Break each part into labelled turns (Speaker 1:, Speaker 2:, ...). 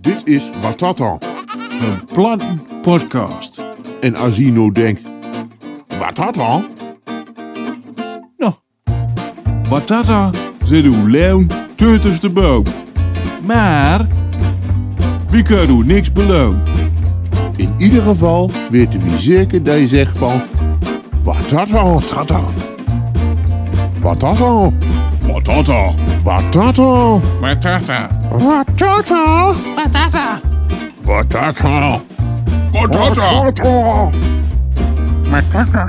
Speaker 1: Dit is Watata.
Speaker 2: Een plantenpodcast.
Speaker 1: En Azino denkt, Watata?
Speaker 2: Nou, Batata zit uw leun tussen de boom. Maar, wie kan u niks beloon?
Speaker 1: In ieder geval weten we zeker dat je zegt van, Watata, tata. Watata,
Speaker 2: Batata.
Speaker 1: Watata,
Speaker 2: Batata.
Speaker 1: Watata,
Speaker 2: Batata.
Speaker 1: Watata,
Speaker 2: Batata.
Speaker 1: Watata.
Speaker 2: Batata.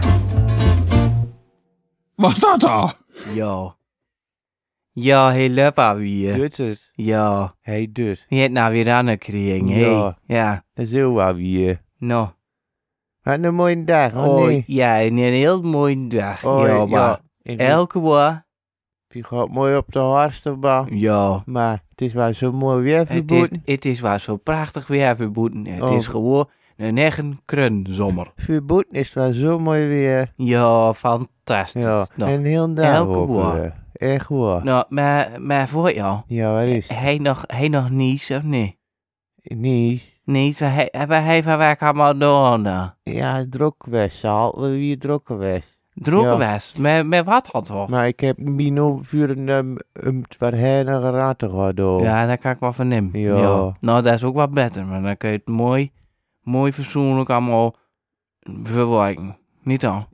Speaker 2: Batata.
Speaker 3: Ja. Ja, hey Leppa weer.
Speaker 4: Doet Dus het.
Speaker 3: Ja.
Speaker 4: Hij doet.
Speaker 3: Je hebt nou weer aan de kring, hé.
Speaker 4: Ja.
Speaker 3: Ja.
Speaker 4: Dat is heel waar weer.
Speaker 3: Nou.
Speaker 4: Wat een mooie dag. Oh,
Speaker 3: Oh,
Speaker 4: nee.
Speaker 3: ja, en een heel mooie dag.
Speaker 4: Oh,
Speaker 3: ja, maar
Speaker 4: Ik
Speaker 3: elke waar.
Speaker 4: Je gaat mooi op de harstenbaan.
Speaker 3: Ja.
Speaker 4: Maar het is wel zo mooi weer
Speaker 3: Het is,
Speaker 4: verboeten.
Speaker 3: het is wel zo prachtig weer verboeten. Het
Speaker 4: Oh.
Speaker 3: is gewoon een eigen krunzomer.
Speaker 4: Verboeten is wel zo mooi weer.
Speaker 3: Ja, fantastisch.
Speaker 4: Ja.
Speaker 3: Nou,
Speaker 4: En heel dag
Speaker 3: elke
Speaker 4: ook
Speaker 3: woord.
Speaker 4: weer. Echt waar.
Speaker 3: nou Eh, maar, maar voor jou.
Speaker 4: Ja, wat is?
Speaker 3: Hij nog, hij nog niets of nee? eh.
Speaker 4: Nee.
Speaker 3: Niets, waar hij, waar hij van waar kan maar doen dan?
Speaker 4: Ja, druk was. Al weer druk was.
Speaker 3: Dronken
Speaker 4: Ja.
Speaker 3: was. Met, met wat had wel?
Speaker 4: Maar ik heb Mino voor een um, um, verheinige raten gehad.
Speaker 3: Ja, daar kan ik wel van hem.
Speaker 4: Ja.
Speaker 3: Nou, dat is ook wat beter, maar dan kun je het mooi, mooi fatsoenlijk allemaal verwerken. Niet al?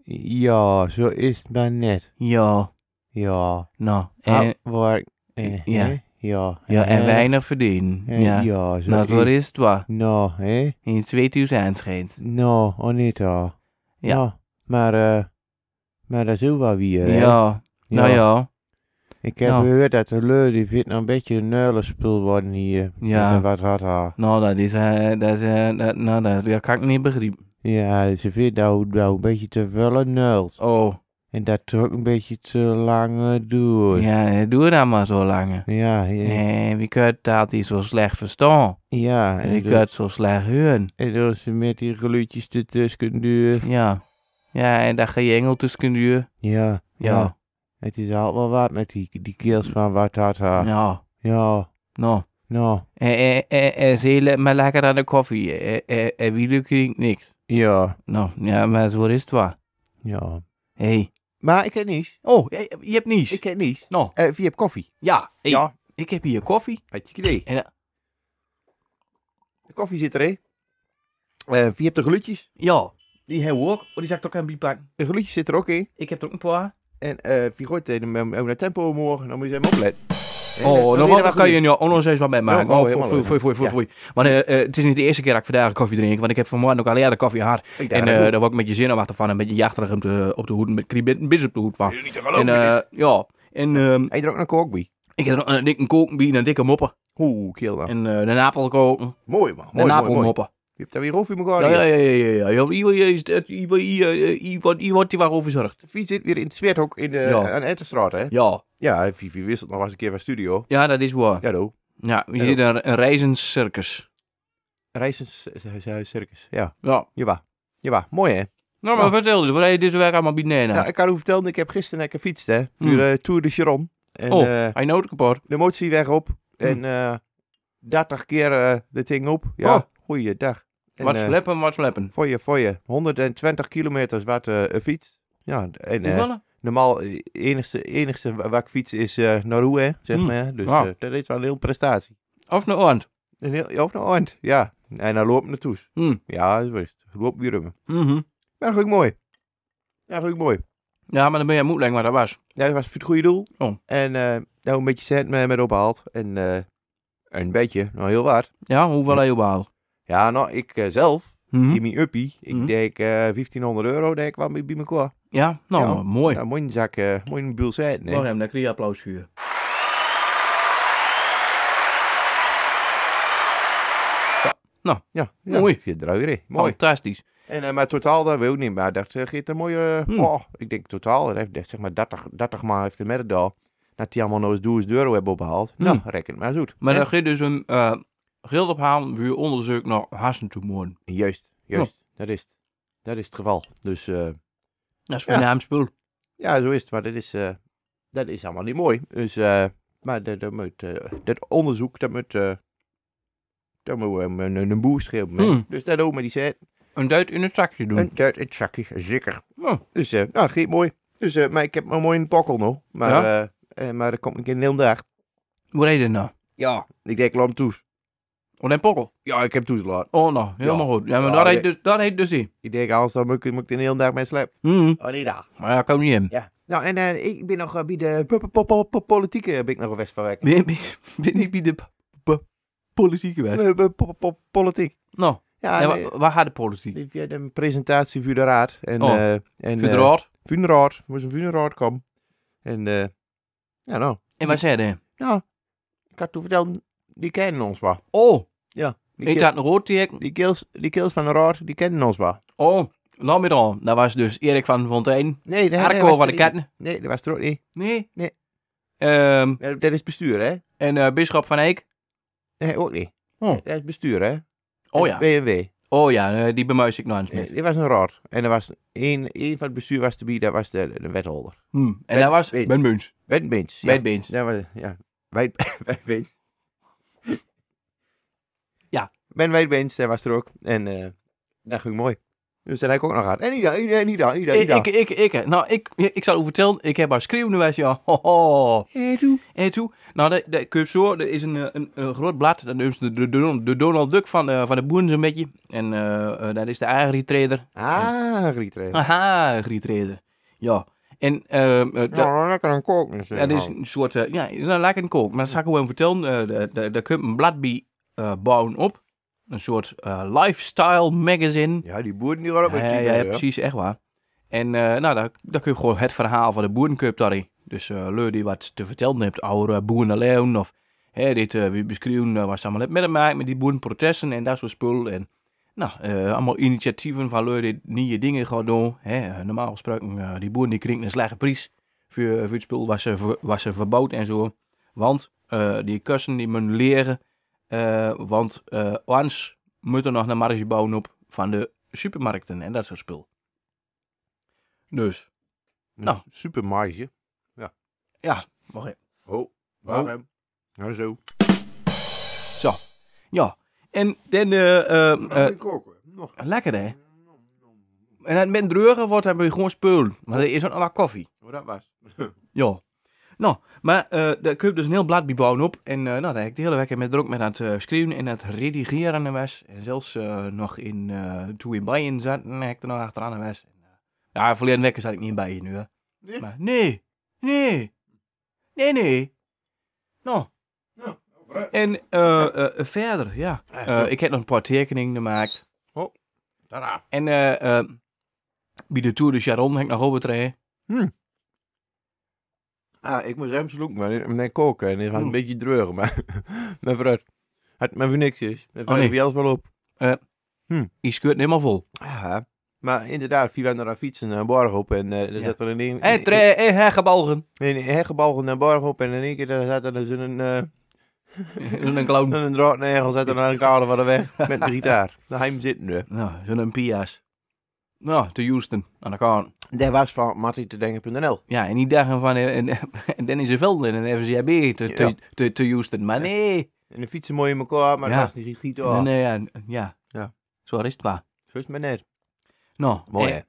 Speaker 4: ja, zo is het maar net.
Speaker 3: Ja,
Speaker 4: Ja.
Speaker 3: nou.
Speaker 4: En,
Speaker 3: En, ja.
Speaker 4: ja. eh, Ja.
Speaker 3: ja, en
Speaker 4: hè?
Speaker 3: weinig verdienen.
Speaker 4: Eh,
Speaker 3: ja.
Speaker 4: ja, zo
Speaker 3: Nou, dat
Speaker 4: is.
Speaker 3: is het waar.
Speaker 4: Nou, hè?
Speaker 3: In 2000 schijnt.
Speaker 4: Nou, oh niet al.
Speaker 3: Ja.
Speaker 4: Nou, maar, eh, maar dat is ook wel weer, hè?
Speaker 3: Ja, nou ja.
Speaker 4: Ik heb
Speaker 3: Ja.
Speaker 4: gehoord dat de leur, die vindt nou een beetje een nuilenspul worden hier.
Speaker 3: Ja.
Speaker 4: Met de wat had haar.
Speaker 3: Nou, dat is, eh, dat, eh, dat, nou, dat, dat kan ik niet begrijpen.
Speaker 4: Ja, ze vindt nou, nou een beetje te veel nuils.
Speaker 3: Oh,
Speaker 4: En dat trok een beetje te lang eh, door.
Speaker 3: ja, eh, doe dat maar zo lang.
Speaker 4: Ja, ja.
Speaker 3: Eh, wie kan dat die zo slecht verstaan?
Speaker 4: ja,
Speaker 3: En wie
Speaker 4: En,
Speaker 3: kan
Speaker 4: dat,
Speaker 3: het zo slecht horen?
Speaker 4: en dat ze met die geluidjes ertussen duur.
Speaker 3: Ja. Ja, en daar gejengel tussen kunt u.
Speaker 4: Ja.
Speaker 3: Ja.
Speaker 4: Het is altijd wel wat met die, die keels van wat had
Speaker 3: Ja.
Speaker 4: haar. ja.
Speaker 3: Nou.
Speaker 4: Nou.
Speaker 3: En, en, en, en ze le- maar lekker aan de koffie. En, en, en wie klinkt niks.
Speaker 4: Ja,
Speaker 3: Nou, ja, maar zo is het waar.
Speaker 4: ja.
Speaker 3: Hé. Hey.
Speaker 4: Maar ik heb niets.
Speaker 3: Oh, je, je hebt niets.
Speaker 4: Ik heb niets.
Speaker 3: Nou,
Speaker 4: Eh, je hebt koffie.
Speaker 3: ja. hey,
Speaker 4: Ja.
Speaker 3: Ik heb hier koffie.
Speaker 4: Had je idee.
Speaker 3: En, eh,
Speaker 4: De koffie zit er, hè? Eh, je hebt de gelutjes.
Speaker 3: Ja. Die hebben we ook. Oh, die zag ik ook aan bipakken.
Speaker 4: De gelutjes zit er ook in.
Speaker 3: Ik heb er ook een paar.
Speaker 4: En eh, je gooit hem hem- hem naar tempo morgen. Dan moet je hem opletten. Eh, dat-
Speaker 3: Oh,
Speaker 4: dat
Speaker 3: nog
Speaker 4: is
Speaker 3: wat.
Speaker 4: er
Speaker 3: Dan kan je nu ook nog eens wat mee maken.
Speaker 4: Ja, oh,
Speaker 3: Oh,
Speaker 4: helemaal
Speaker 3: foei,
Speaker 4: leuk.
Speaker 3: foei, foei, foei, foei. Want eh, eh, het is niet de eerste keer dat ik vandaag koffie drink. Want ik heb vanmorgen ook al eerder koffie gehad.
Speaker 4: Ik
Speaker 3: En
Speaker 4: dacht,
Speaker 3: eh
Speaker 4: dat
Speaker 3: daar word ik met je zin aan van. Een beetje jachterig op de, øh, op de hoed. Met kriebit een bis op de hoed van.
Speaker 4: moet- niet te
Speaker 3: En
Speaker 4: geloven.
Speaker 3: eh, ja. En ehm,
Speaker 4: Hij dronk een kokbie.
Speaker 3: ik heb nog een dikke kokenbier en een dikke moppen.
Speaker 4: Oeh, kill dan.
Speaker 3: En eh een appel koken.
Speaker 4: Mooi, man.
Speaker 3: Een
Speaker 4: Mooi, mooi, mooi.
Speaker 3: appelmoppen.
Speaker 4: Je hebt daar weer over in
Speaker 3: Ja,
Speaker 4: elkaar.
Speaker 3: ja,
Speaker 4: hier.
Speaker 3: ja, ja, ja. ja. Hier- hier is het- hier- hier- hier- hier wordt- hier wordt hij waarover verzorgd.
Speaker 4: De fiets zit weer in het zweethok in de,
Speaker 3: Ja.
Speaker 4: aan de Ettenstraat, hè?
Speaker 3: Ja.
Speaker 4: Ja, Vivi wisselt nog wel eens een keer van studio.
Speaker 3: Ja, dat is waar.
Speaker 4: Ja, doe.
Speaker 3: Ja, we
Speaker 4: Ja.
Speaker 3: zien een, een reizend circus.
Speaker 4: Reisenscircus. Ja,
Speaker 3: Ja.
Speaker 4: jawel. Jawel. Mooi, hè?
Speaker 3: Nou, maar
Speaker 4: Ja.
Speaker 3: vertel dus. Wat heb je dit werk allemaal nou. binnen?
Speaker 4: Ja, ik kan u vertellen, ik heb gisteren lekker gefietst, hè. Voor
Speaker 3: Hmm.
Speaker 4: eh, Tour de Chiron. En
Speaker 3: Oh. Hmm.
Speaker 4: eh,
Speaker 3: Hij nodig kapot.
Speaker 4: de motie weg op. En eh 30 keer eh dit ding op. Ja,
Speaker 3: Oh.
Speaker 4: goeiedag. En,
Speaker 3: Wat
Speaker 4: eh,
Speaker 3: sleppen, wat sleppen.
Speaker 4: voor je, voor je. 120 kilometers wat eh, een fiets. Ja, en eh,
Speaker 3: Hoeveel?
Speaker 4: normaal, eh, enigste, enigste wa- waar ik fiets is eh naar Roe, hè, zeg
Speaker 3: Hmm.
Speaker 4: maar. Dus
Speaker 3: Ja.
Speaker 4: eh, dat is wel een heel prestatie.
Speaker 3: Of een oornd.
Speaker 4: Een heel, of nou eind, ja. En dan loop ik naartoe.
Speaker 3: Hm.
Speaker 4: Ja, zo is het. Loop weer rummen.
Speaker 3: Mhm.
Speaker 4: Ja, gelukkig mooi. Ja, gelukkig mooi.
Speaker 3: Ja, maar dan ben je moeilijk, maar dat was.
Speaker 4: Ja, dat was voor het goede doel.
Speaker 3: Oh.
Speaker 4: En eh nou, een beetje cent me- met opgehaald. En eh, een beetje, nou heel waard.
Speaker 3: Ja, hoeveel heb je behaald?
Speaker 4: Ja, nou, ik eh, zelf,
Speaker 3: Mhm.
Speaker 4: in mijn uppie, ik
Speaker 3: Mhm. denk
Speaker 4: denk eh, 1500 euro, denk ik, wel bij bij elkaar.
Speaker 3: Ja, nou,
Speaker 4: Ja.
Speaker 3: mooi.
Speaker 4: Nou, mooi een zak, eh, mooi een bul cent.
Speaker 3: Nee.
Speaker 4: Nee.
Speaker 3: hem, dan krijg je applaus voor.
Speaker 4: Ja, ja,
Speaker 3: Mooi. Oh.
Speaker 4: Zit er alweer in. Mooi.
Speaker 3: Fantastisch.
Speaker 4: En, eh, maar totaal, dat wil ik niet. Maar dat eh, geeft een mooie, eh,
Speaker 3: Hmm.
Speaker 4: oh, ik denk totaal, dat heeft dat zeg maar 30, 30 maal heeft de mededal. Dat die allemaal nog eens 1000 euro hebben opgehaald. Nou, reken het maar zoet.
Speaker 3: Hm. Maar
Speaker 4: Hè?
Speaker 3: dan ga je dus een eh, geld ophalen voor je onderzoek naar hassen toe moorden.
Speaker 4: Juist, juist. Dat is het. Dat is het geval. Dus... eh,
Speaker 3: Dat is
Speaker 4: Ja.
Speaker 3: voornaam spul.
Speaker 4: Ja, zo is het. Maar dat is, eh, dat is allemaal niet mooi. Dus, eh, maar dat, dat moet, eh, dat onderzoek, dat moet, eh, Dan moet hem een, een boost geven.
Speaker 3: Hmm.
Speaker 4: Dus dat ook met die set.
Speaker 3: Een duit in het zakje doen.
Speaker 4: En dat in het zakje, zeker.
Speaker 3: Oh.
Speaker 4: Dus eh, nou, dat ging mooi. Dus, eh, maar ik heb me mooi in de pokkel nog. Maar, eh, eh, maar dat komt een keer een hele dag.
Speaker 3: Hoe heet dit nou?
Speaker 4: Ja. Ik denk, laat hem toes.
Speaker 3: Oh, een pokkel.
Speaker 4: Ja, ik heb toes laat.
Speaker 3: Oh, nou, helemaal goed. Ja, maar
Speaker 4: Ja,
Speaker 3: dat,
Speaker 4: nee.
Speaker 3: heet dus, dat heet dus in.
Speaker 4: Ik denk, anders dan moet ik, moet ik de hele dag mee slapen.
Speaker 3: Hmm.
Speaker 4: Oh, nee, daar.
Speaker 3: Maar ja, kan niet in.
Speaker 4: Ja. Nou, en eh, ik ben nog eh, bij de po- po- po- po- politieke eh, ben ik nog een West van werk.
Speaker 3: Ben, ben, ben ik bij de p- p- politieke weg?
Speaker 4: Eh, po- po- po- Politiek.
Speaker 3: Nou,
Speaker 4: Ja,
Speaker 3: en
Speaker 4: en,
Speaker 3: wa-
Speaker 4: eh,
Speaker 3: waar, gaat de politiek?
Speaker 4: ik heb een presentatie voor de raad. En,
Speaker 3: Oh,
Speaker 4: eh, en,
Speaker 3: Voor de raad?
Speaker 4: Funeraar. Moest een funeraar komen. En eh, ja, nou.
Speaker 3: En waar zei hij?
Speaker 4: Ja, ik had toen verteld, die kennen ons wel.
Speaker 3: Oh,
Speaker 4: Ja. Die,
Speaker 3: ik
Speaker 4: ken-
Speaker 3: had een rood teken.
Speaker 4: die, kills, die kills van de raad, die kennen ons wel.
Speaker 3: Oh, laat me dan. Dat was dus Erik van Fontein.
Speaker 4: Nee, dat dat
Speaker 3: Arco
Speaker 4: was
Speaker 3: van
Speaker 4: er
Speaker 3: de
Speaker 4: niet.
Speaker 3: Katten.
Speaker 4: Nee, dat was er ook niet.
Speaker 3: Nee.
Speaker 4: Nee.
Speaker 3: Ehm,
Speaker 4: Nee, Dat is bestuur, hè?
Speaker 3: en eh Bisschop van Eek.
Speaker 4: Nee, ook niet.
Speaker 3: Oh.
Speaker 4: Dat is bestuur, hè?
Speaker 3: Oh ja.
Speaker 4: BMW.
Speaker 3: Oh ja, eh, die bemuis ik nou eens
Speaker 4: Nee,
Speaker 3: met.
Speaker 4: dit was een raad. En er was één, één van het bestuur was erbij, dat was de, de wethouder.
Speaker 3: Hmm. En
Speaker 4: Ben-
Speaker 3: dat was
Speaker 4: Ben-
Speaker 3: Ben Muns.
Speaker 4: Wet Beens.
Speaker 3: Ben Beens.
Speaker 4: Ja, was, ja. Wijd, Wijdbeens.
Speaker 3: Ja.
Speaker 4: Ben Wijdbeens, dat was er ook. En eh dat ging mooi. Dus dat heb ik ook nog gehad. En Ida, Ida, Ida, Ida,
Speaker 3: Ik,
Speaker 4: Ida.
Speaker 3: ik, ik, ik, nou, ik, ik zal u vertellen, ik heb haar schreeuwende wijs, ja. Hoho. En toen, nou, dat, dat kun je zo, er is een, eh, een, een groot blad, dat is de, de, de- de Donald Duck van, eh, van de boeren zo'n beetje. En eh, eh, dat is de agri-trader.
Speaker 4: Ah, Grietrij.
Speaker 3: Aha, agri-trader. Ja. En ehm, eh, dat,
Speaker 4: Nou, lekker een kook. Dus,
Speaker 3: dat is een soort, eh, ja, dan laat ik het kook. Maar dat zal ik gewoon vertellen, eh, daar- daar daar kun je een blad bij eh, bouwen op. Een soort eh, lifestyle magazine.
Speaker 4: Ja, die boeren die waren ook met
Speaker 3: Ja, ja, ja, precies, echt waar. En eh, nou, daar, daar kun je gewoon het verhaal van de boerencup daarin. Dus eh leur die wat te vertellen hebt, oude eh, boerenleeuwen of hè, dit eh wie beschreven eh, wat ze allemaal hebben meegemaakt met die boerenprotesten en dat soort spul. En nou, eh, allemaal initiatieven van leur die nieuwe dingen gaan doen. Hè, eh, normaal gesproken, eh, die boeren die krijgen een slechte prijs voor, eh, voor het spul wat ze, ver- wat ze verbouwd en zo. Want eh, die kussen die moeten leren, eh, want eh ons moeten nog naar marge bouwen op van de supermarkten en dat soort spul. Dus, Nou.
Speaker 4: Super marge.
Speaker 3: ja, mag ik.
Speaker 4: Oh,
Speaker 3: waarom?
Speaker 4: waarom? Nou, zo.
Speaker 3: Zo, ja. En dan, eh, eh, eh,
Speaker 4: koken. Nog.
Speaker 3: lekker hè. En het met dreugen wordt hebben we gewoon spul. Maar er is ook nog wat koffie.
Speaker 4: Hoe dat was.
Speaker 3: Ja. Nou, maar eh daar kun je dus een heel blad bij bouwen op. En eh, nou, daar heb ik de hele week met druk met aan het eh, schrijven en aan het redigeren was. En zelfs eh, nog in, eh, toen in Bayern zat, en heb ik er nog achteraan was. En, eh, ja, verleden week zat ik niet in Bayern nu, hè.
Speaker 4: Nee?
Speaker 3: Maar, nee, nee, nee, nee. Nou.
Speaker 4: Ja, vooruit.
Speaker 3: En eh, eh, verder, ja. Eh, ik heb nog een paar tekeningen gemaakt.
Speaker 4: Tara.
Speaker 3: En eh, eh, bij de Tour de Charon heb ik nog overtreden.
Speaker 4: Ah, ik moest hem sloeken, maar mijn koken. En hij was
Speaker 3: Hmm.
Speaker 4: een beetje dreugen, maar... mijn vrouw had maar voor niks is. Mijn vrouw
Speaker 3: Oh, nee.
Speaker 4: heeft alles wel op.
Speaker 3: Die scheurt helemaal vol.
Speaker 4: Ah, maar inderdaad, wie waren er aan fietsen naar Borg op en eh dan
Speaker 3: Ja.
Speaker 4: zat er in één...
Speaker 3: En tre, eh, en hergebalgen.
Speaker 4: in- in heggebalgen naar Borg op en in één keer dan zat er dus een, eh
Speaker 3: Een clown.
Speaker 4: een draadnegel zat er aan de kade van de weg met een gitaar. Nou, hij hem zitten nu.
Speaker 3: Nou, zo'n Pia's. Nou, te Houston, aan de kant.
Speaker 4: Dat was van martitedenken.nl.
Speaker 3: Ja, en die dagen van, eh, en, en Dennis de Velden en FCB te, te, te, te Houston. Maar nee.
Speaker 4: En de fietsen mooi in elkaar, maar
Speaker 3: Ja.
Speaker 4: het was niet gitaar.
Speaker 3: Nee, nee, ja, ja.
Speaker 4: Ja.
Speaker 3: Zo is het waar.
Speaker 4: Zo is het maar net.
Speaker 3: Nou,
Speaker 4: Mooi,
Speaker 3: eh,
Speaker 4: hè?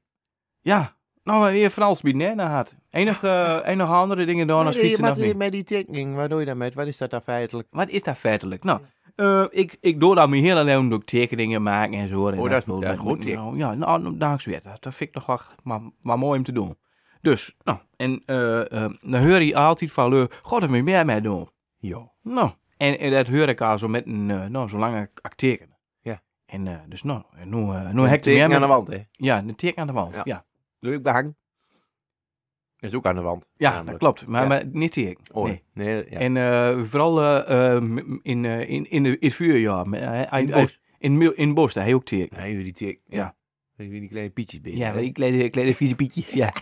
Speaker 3: Ja. Nou, weer van alles bieden, hè, naar had. Enige, eh, enige andere dingen doen
Speaker 4: Maar
Speaker 3: als
Speaker 4: die-
Speaker 3: fietsen
Speaker 4: maar
Speaker 3: nog
Speaker 4: die-
Speaker 3: niet.
Speaker 4: Met die tekening, waar doe je dat met? Wat is dat daar feitelijk?
Speaker 3: Wat is dat feitelijk? Nou, eh, ik, ik doe dan mijn hele leven ook tekeningen maken en zo. En
Speaker 4: Oh, dat is- dat is goed,
Speaker 3: Ja, ja nou, nou, dankzij weer. Dat, dat vind ik nog wel maar, maar mooi om te doen. Dus, nou, en eh, eh, dan hoor je altijd van, eh, god, dat moet je meer mee doen.
Speaker 4: Ja.
Speaker 3: Nou, en, en dat hoor ik al zo met een, eh, nou, zo lang ik tekenen.
Speaker 4: Ja.
Speaker 3: En eh, dus, nou, en nu, eh, nu heb ik er meer
Speaker 4: Tekening aan de
Speaker 3: met-
Speaker 4: wand, hè?
Speaker 3: Ja, een teken aan de wand,
Speaker 4: Ja.
Speaker 3: ja.
Speaker 4: Leuk behang. Is ook aan de wand.
Speaker 3: Ja, dat
Speaker 4: namelijk.
Speaker 3: klopt. Maar,
Speaker 4: Ja.
Speaker 3: maar niet ik.
Speaker 4: Oh,
Speaker 3: nee.
Speaker 4: nee. nee ja.
Speaker 3: En eh, vooral eh, eh, m- in, eh, in, in, de- in het vuurjaar. maar hij- hij-
Speaker 4: In het
Speaker 3: hij-
Speaker 4: bos.
Speaker 3: In, mil- in het bos, daar heel teer.
Speaker 4: Nee, jullie tik.
Speaker 3: Ja.
Speaker 4: Weet je wie die kleine pietjes ben.
Speaker 3: Ja, ik kleine, kleine vieze pietjes. Ja.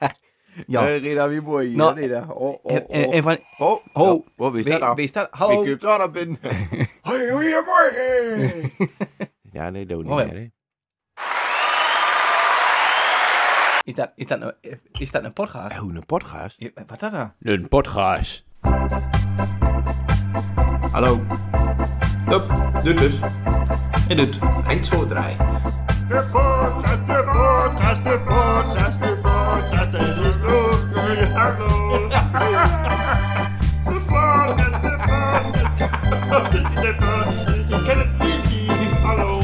Speaker 3: ja.
Speaker 4: Nee, dat weer mooi hier.
Speaker 3: Nou,
Speaker 4: nee, dat. Oh, Eh, oh,
Speaker 3: en, en-
Speaker 4: oh.
Speaker 3: en van...
Speaker 4: oh,
Speaker 3: ho.
Speaker 4: ja. Wat is dat
Speaker 3: Wie-
Speaker 4: dan?
Speaker 3: wie is dat?
Speaker 4: Ik eh,
Speaker 3: Hallo.
Speaker 4: heb daar op in. Hoi, goeiemorgen. ja, nee, dat
Speaker 3: Oh,
Speaker 4: niet
Speaker 3: ja.
Speaker 4: meer, hè.
Speaker 3: Is dat, is dat, een, is dat een podcast?
Speaker 4: Oh, een podcast?
Speaker 3: Ja, Wat is dat dan?
Speaker 4: Een podcast.
Speaker 3: Hallo.
Speaker 5: Hup, doet dus.
Speaker 3: En dit.
Speaker 5: Eind zo draai.
Speaker 6: De podcast, de podcast, de podcast, de podcast, het is goed, goeie hallo. De podcast, de podcast, de podcast, ik ken het niet, hallo,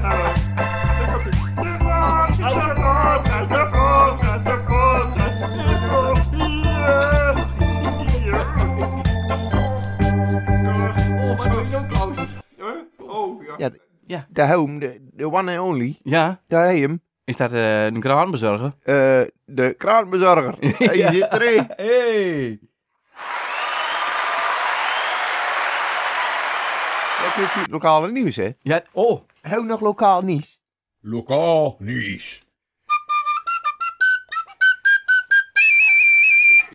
Speaker 6: hallo. De podcast, de podcast, de podcast, de podcast, het is goed, hier, hier.
Speaker 5: Oh, maar doe je ook Klaus? Huh? Oh, ja.
Speaker 4: Ja,
Speaker 3: Ja.
Speaker 4: de home, de, de one and only,
Speaker 3: Ja,
Speaker 4: daar heb je hem.
Speaker 3: is dat eh, een kraanbezorger?
Speaker 4: Eh, de kraanbezorger. Hij zit erin.
Speaker 3: Hey.
Speaker 4: Dat is het lokale nieuws, hè?
Speaker 3: Ja, oh.
Speaker 4: Heel nog lokaal nieuws.
Speaker 1: Lokaal nieuws.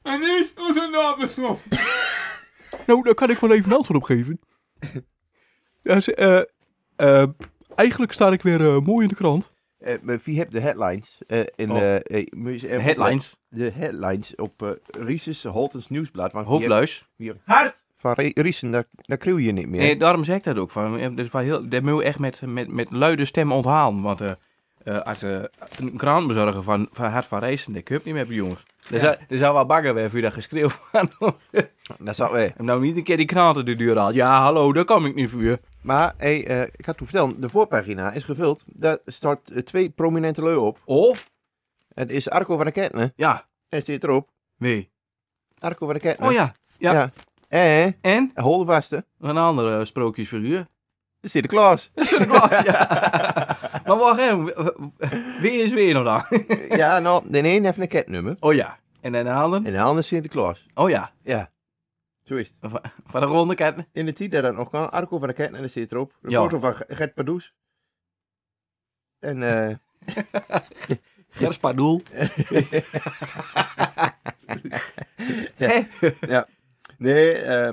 Speaker 2: En is onze naam besloten.
Speaker 3: Nou, daar kan ik wel even een antwoord op geven. Ja, ze- eh, eh, eigenlijk sta ik weer eh, mooi in de krant.
Speaker 4: Eh, maar wie hebt de headlines? eh, in,
Speaker 3: Oh.
Speaker 4: eh, eh, moet je- eh,
Speaker 3: Headlines.
Speaker 4: De headlines op eh Rieses Holtens Nieuwsblad. Want wie hebt-
Speaker 3: Hoofdluis.
Speaker 4: Van Rie- Riesen, daar, daar krieuw je niet meer.
Speaker 3: Nee, daarom zeg ik dat ook. Van, eh, dus wel heel, dat moet je echt met, met, met luide stem onthalen. Want eh, eh, als eh, een kraanbezorger van, van Hart van Rijssen, dat kun je het niet meer, bij jongens. Er zou, er zou wel bagger weer voor je dat geschreeuw van.
Speaker 4: Dat zou, eh,
Speaker 3: Hem nou niet een keer die kraan te de deur haalt. Ja, hallo, daar kom ik niet voor je.
Speaker 4: Maar hey, eh, ik had toen verteld, de voorpagina is gevuld. Daar staat eh, twee prominente leu op.
Speaker 3: Oh,
Speaker 4: Het is Arco van der Ketten.
Speaker 3: ja.
Speaker 4: Hij zit erop.
Speaker 3: Nee.
Speaker 4: Arco van der Ketten.
Speaker 3: Oh ja. ja.
Speaker 4: En
Speaker 3: En?
Speaker 4: Holdevaste.
Speaker 3: Een eh, andere sprookjesfiguur.
Speaker 4: Sinterklaas.
Speaker 3: Sinterklaas, ja. maar wacht even. Wie is weer nog dan?
Speaker 4: ja, nou, de een heeft een ketnummer.
Speaker 3: Oh ja. En dan de handen?
Speaker 4: En de ander is Sinterklaas.
Speaker 3: Oh ja.
Speaker 4: Ja. Zo is het.
Speaker 3: Van- Van de ronde ketten.
Speaker 4: In de tijd dat dat nog kan, Arco van der Ketten, daar zit erop. Een
Speaker 3: Ja.
Speaker 4: foto van Ge- Gert Padoes. En eh,
Speaker 3: Gers Pardoel. Hé?
Speaker 4: nee, eh,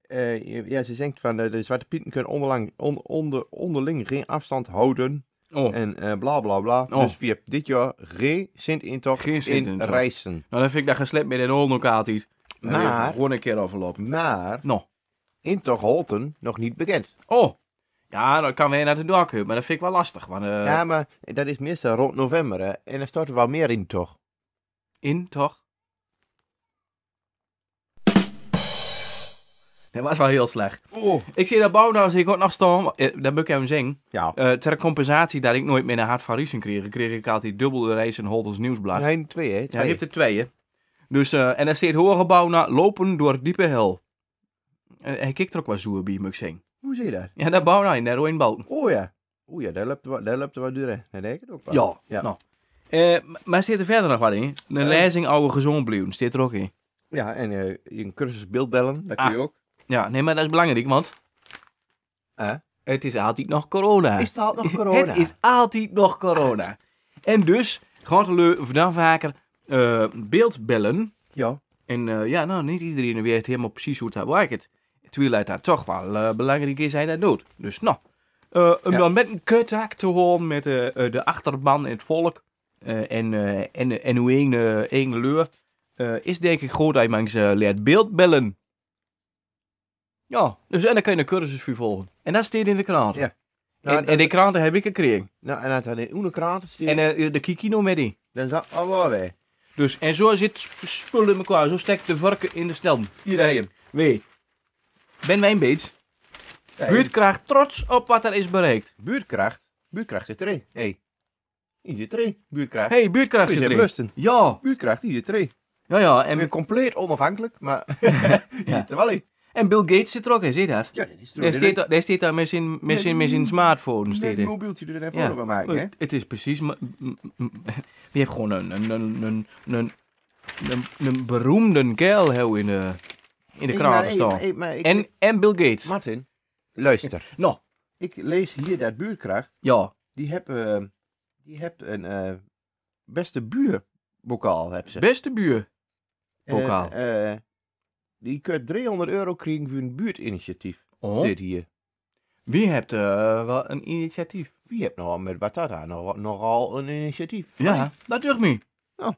Speaker 4: eh, ja, ze zingt van eh, de Zwarte Pieten kunnen onderlang, on- onder, onderling geen afstand houden.
Speaker 3: Oh,
Speaker 4: En eh, bla bla bla.
Speaker 3: Oh.
Speaker 4: Dus we hebben dit jaar geen Sint-intocht
Speaker 3: Geen
Speaker 4: in
Speaker 3: Sint-intocht.
Speaker 4: Rijssen.
Speaker 3: nou dan vind ik dat geslept met in de hondenkaart iets. Dan wil ik
Speaker 4: Maar-
Speaker 3: Gewoon een keer overlopen.
Speaker 4: Maar
Speaker 3: Nou.
Speaker 4: intocht Holten nog niet bekend.
Speaker 3: Oh. Ja, dan kan weer naar de dokken, maar dat vind ik wel lastig. Want eh,
Speaker 4: Ja, maar dat is meestal rond november hè. en er stort er wel meer in toch?
Speaker 3: in, toch? Dat was wel heel slecht.
Speaker 4: Oh.
Speaker 3: Ik zie dat Bouwdans, ik ook nog staan. eh, Dat moet ik hem zingen.
Speaker 4: Ja.
Speaker 3: Eh, ter compensatie dat ik nooit meer naar Hart van Riesen kreeg, kreeg ik altijd dubbel de race in Holtens Nieuwsblad. Eh. Ja,
Speaker 4: Nee, twee hè?
Speaker 3: je
Speaker 4: Twee.
Speaker 3: hebt er twee, hè? Dus, eh, en er staat hoorgebouw na lopen door diepe hel. Eh, hij kijkt er ook wel zoer bij, moet ik zeggen.
Speaker 4: Hoe zie je dat?
Speaker 3: Ja, dat bouw nou in, daar in Balten.
Speaker 4: Oh ja. O ja, daar loopt er wat- daar loopt er wat duur hè. Dat denk ik ook wel.
Speaker 3: Ja,
Speaker 4: Ja. Eh.
Speaker 3: nou. Eh, m- maar staat er verder nog wat in? Een lezing oude gezond blijven, staat er ook in.
Speaker 4: Ja, en eh, een cursus beeldbellen, dat kun je
Speaker 3: Ah.
Speaker 4: ook.
Speaker 3: Ja, nee, maar dat is belangrijk, want
Speaker 4: Eh?
Speaker 3: het is altijd nog corona.
Speaker 4: Is het al nog corona?
Speaker 3: Ah. Het is altijd nog corona. En dus gaat Leu dan vaker eh, beeldbellen.
Speaker 4: Ja.
Speaker 3: En eh, ja, nou, niet iedereen weet helemaal precies hoe het werkt. Terwijl het daar toch wel eh, belangrijk is, hij dat doet. Dus nou, eh, om
Speaker 4: Ja.
Speaker 3: dan met een contact te horen met eh, eh, de achterban en het volk. eh, en, eh, en, en hoe een, eh, een leur. eh, is denk ik goed dat je mensen eh, leert beeldbellen. Ja, dus en dan kan je een cursus voor volgen. En dat staat in de krant.
Speaker 4: Ja.
Speaker 3: En,
Speaker 4: Nou,
Speaker 3: en die kranten heb ik gekregen.
Speaker 4: Nou, en dat had in Oene kraant sturen,
Speaker 3: En eh, de kikino met die.
Speaker 4: dan zat al wel weer.
Speaker 3: Dus, en zo zit sp- spullen in elkaar. Zo steekt de varken in de stelm.
Speaker 4: Hier heb je hem.
Speaker 3: Wee. Ben wij een beetje.
Speaker 4: Daar heb je hem.
Speaker 3: Buurtkraag trots op wat er is bereikt.
Speaker 4: Buurtkracht. Buurtkracht zit erin. Hé. Hey. Die zit erin. Buurtkracht.
Speaker 3: Hé, hey, buurtkraag
Speaker 4: Die
Speaker 3: zit
Speaker 4: zijn
Speaker 3: erin.
Speaker 4: lusten.
Speaker 3: Ja,
Speaker 4: Buurtkracht, die zit erin.
Speaker 3: ja, ja.
Speaker 4: En weer
Speaker 3: En,
Speaker 4: compleet onafhankelijk, maar die
Speaker 3: Ja.
Speaker 4: zit er wel in.
Speaker 3: en Bill Gates zit er ook in, zie je dat?
Speaker 4: Ja, dat is
Speaker 3: Daar staat daar- daar staat daar met zijn, met zijn, met zijn smartphone. Staat
Speaker 4: een
Speaker 3: er.
Speaker 4: mobieltje er even
Speaker 3: Ja.
Speaker 4: voor van maken, hè?
Speaker 3: Het- Het is precies... ma- m- m- Je hebt gewoon een, een, een, een, een, een, een beroemde kerel heel in de, in de kraan staan. En,
Speaker 4: En...
Speaker 3: en Bill Gates.
Speaker 4: Martin, luister.
Speaker 3: Nou,
Speaker 4: Ik lees hier dat buurtkracht,
Speaker 3: ja.
Speaker 4: die heb, eh, die heb een eh, beste buurbokaal, heb ze.
Speaker 3: Beste buur. bokaal.
Speaker 4: Eh, eh, die kunt 300 euro krijgen voor een buurtinitiatief,
Speaker 3: Oh.
Speaker 4: zit hier.
Speaker 3: Wie hebt eh, wel een initiatief?
Speaker 4: Wie hebt nou met Watata nog- nogal een initiatief?
Speaker 3: Ja, dat durf me.
Speaker 4: Oh.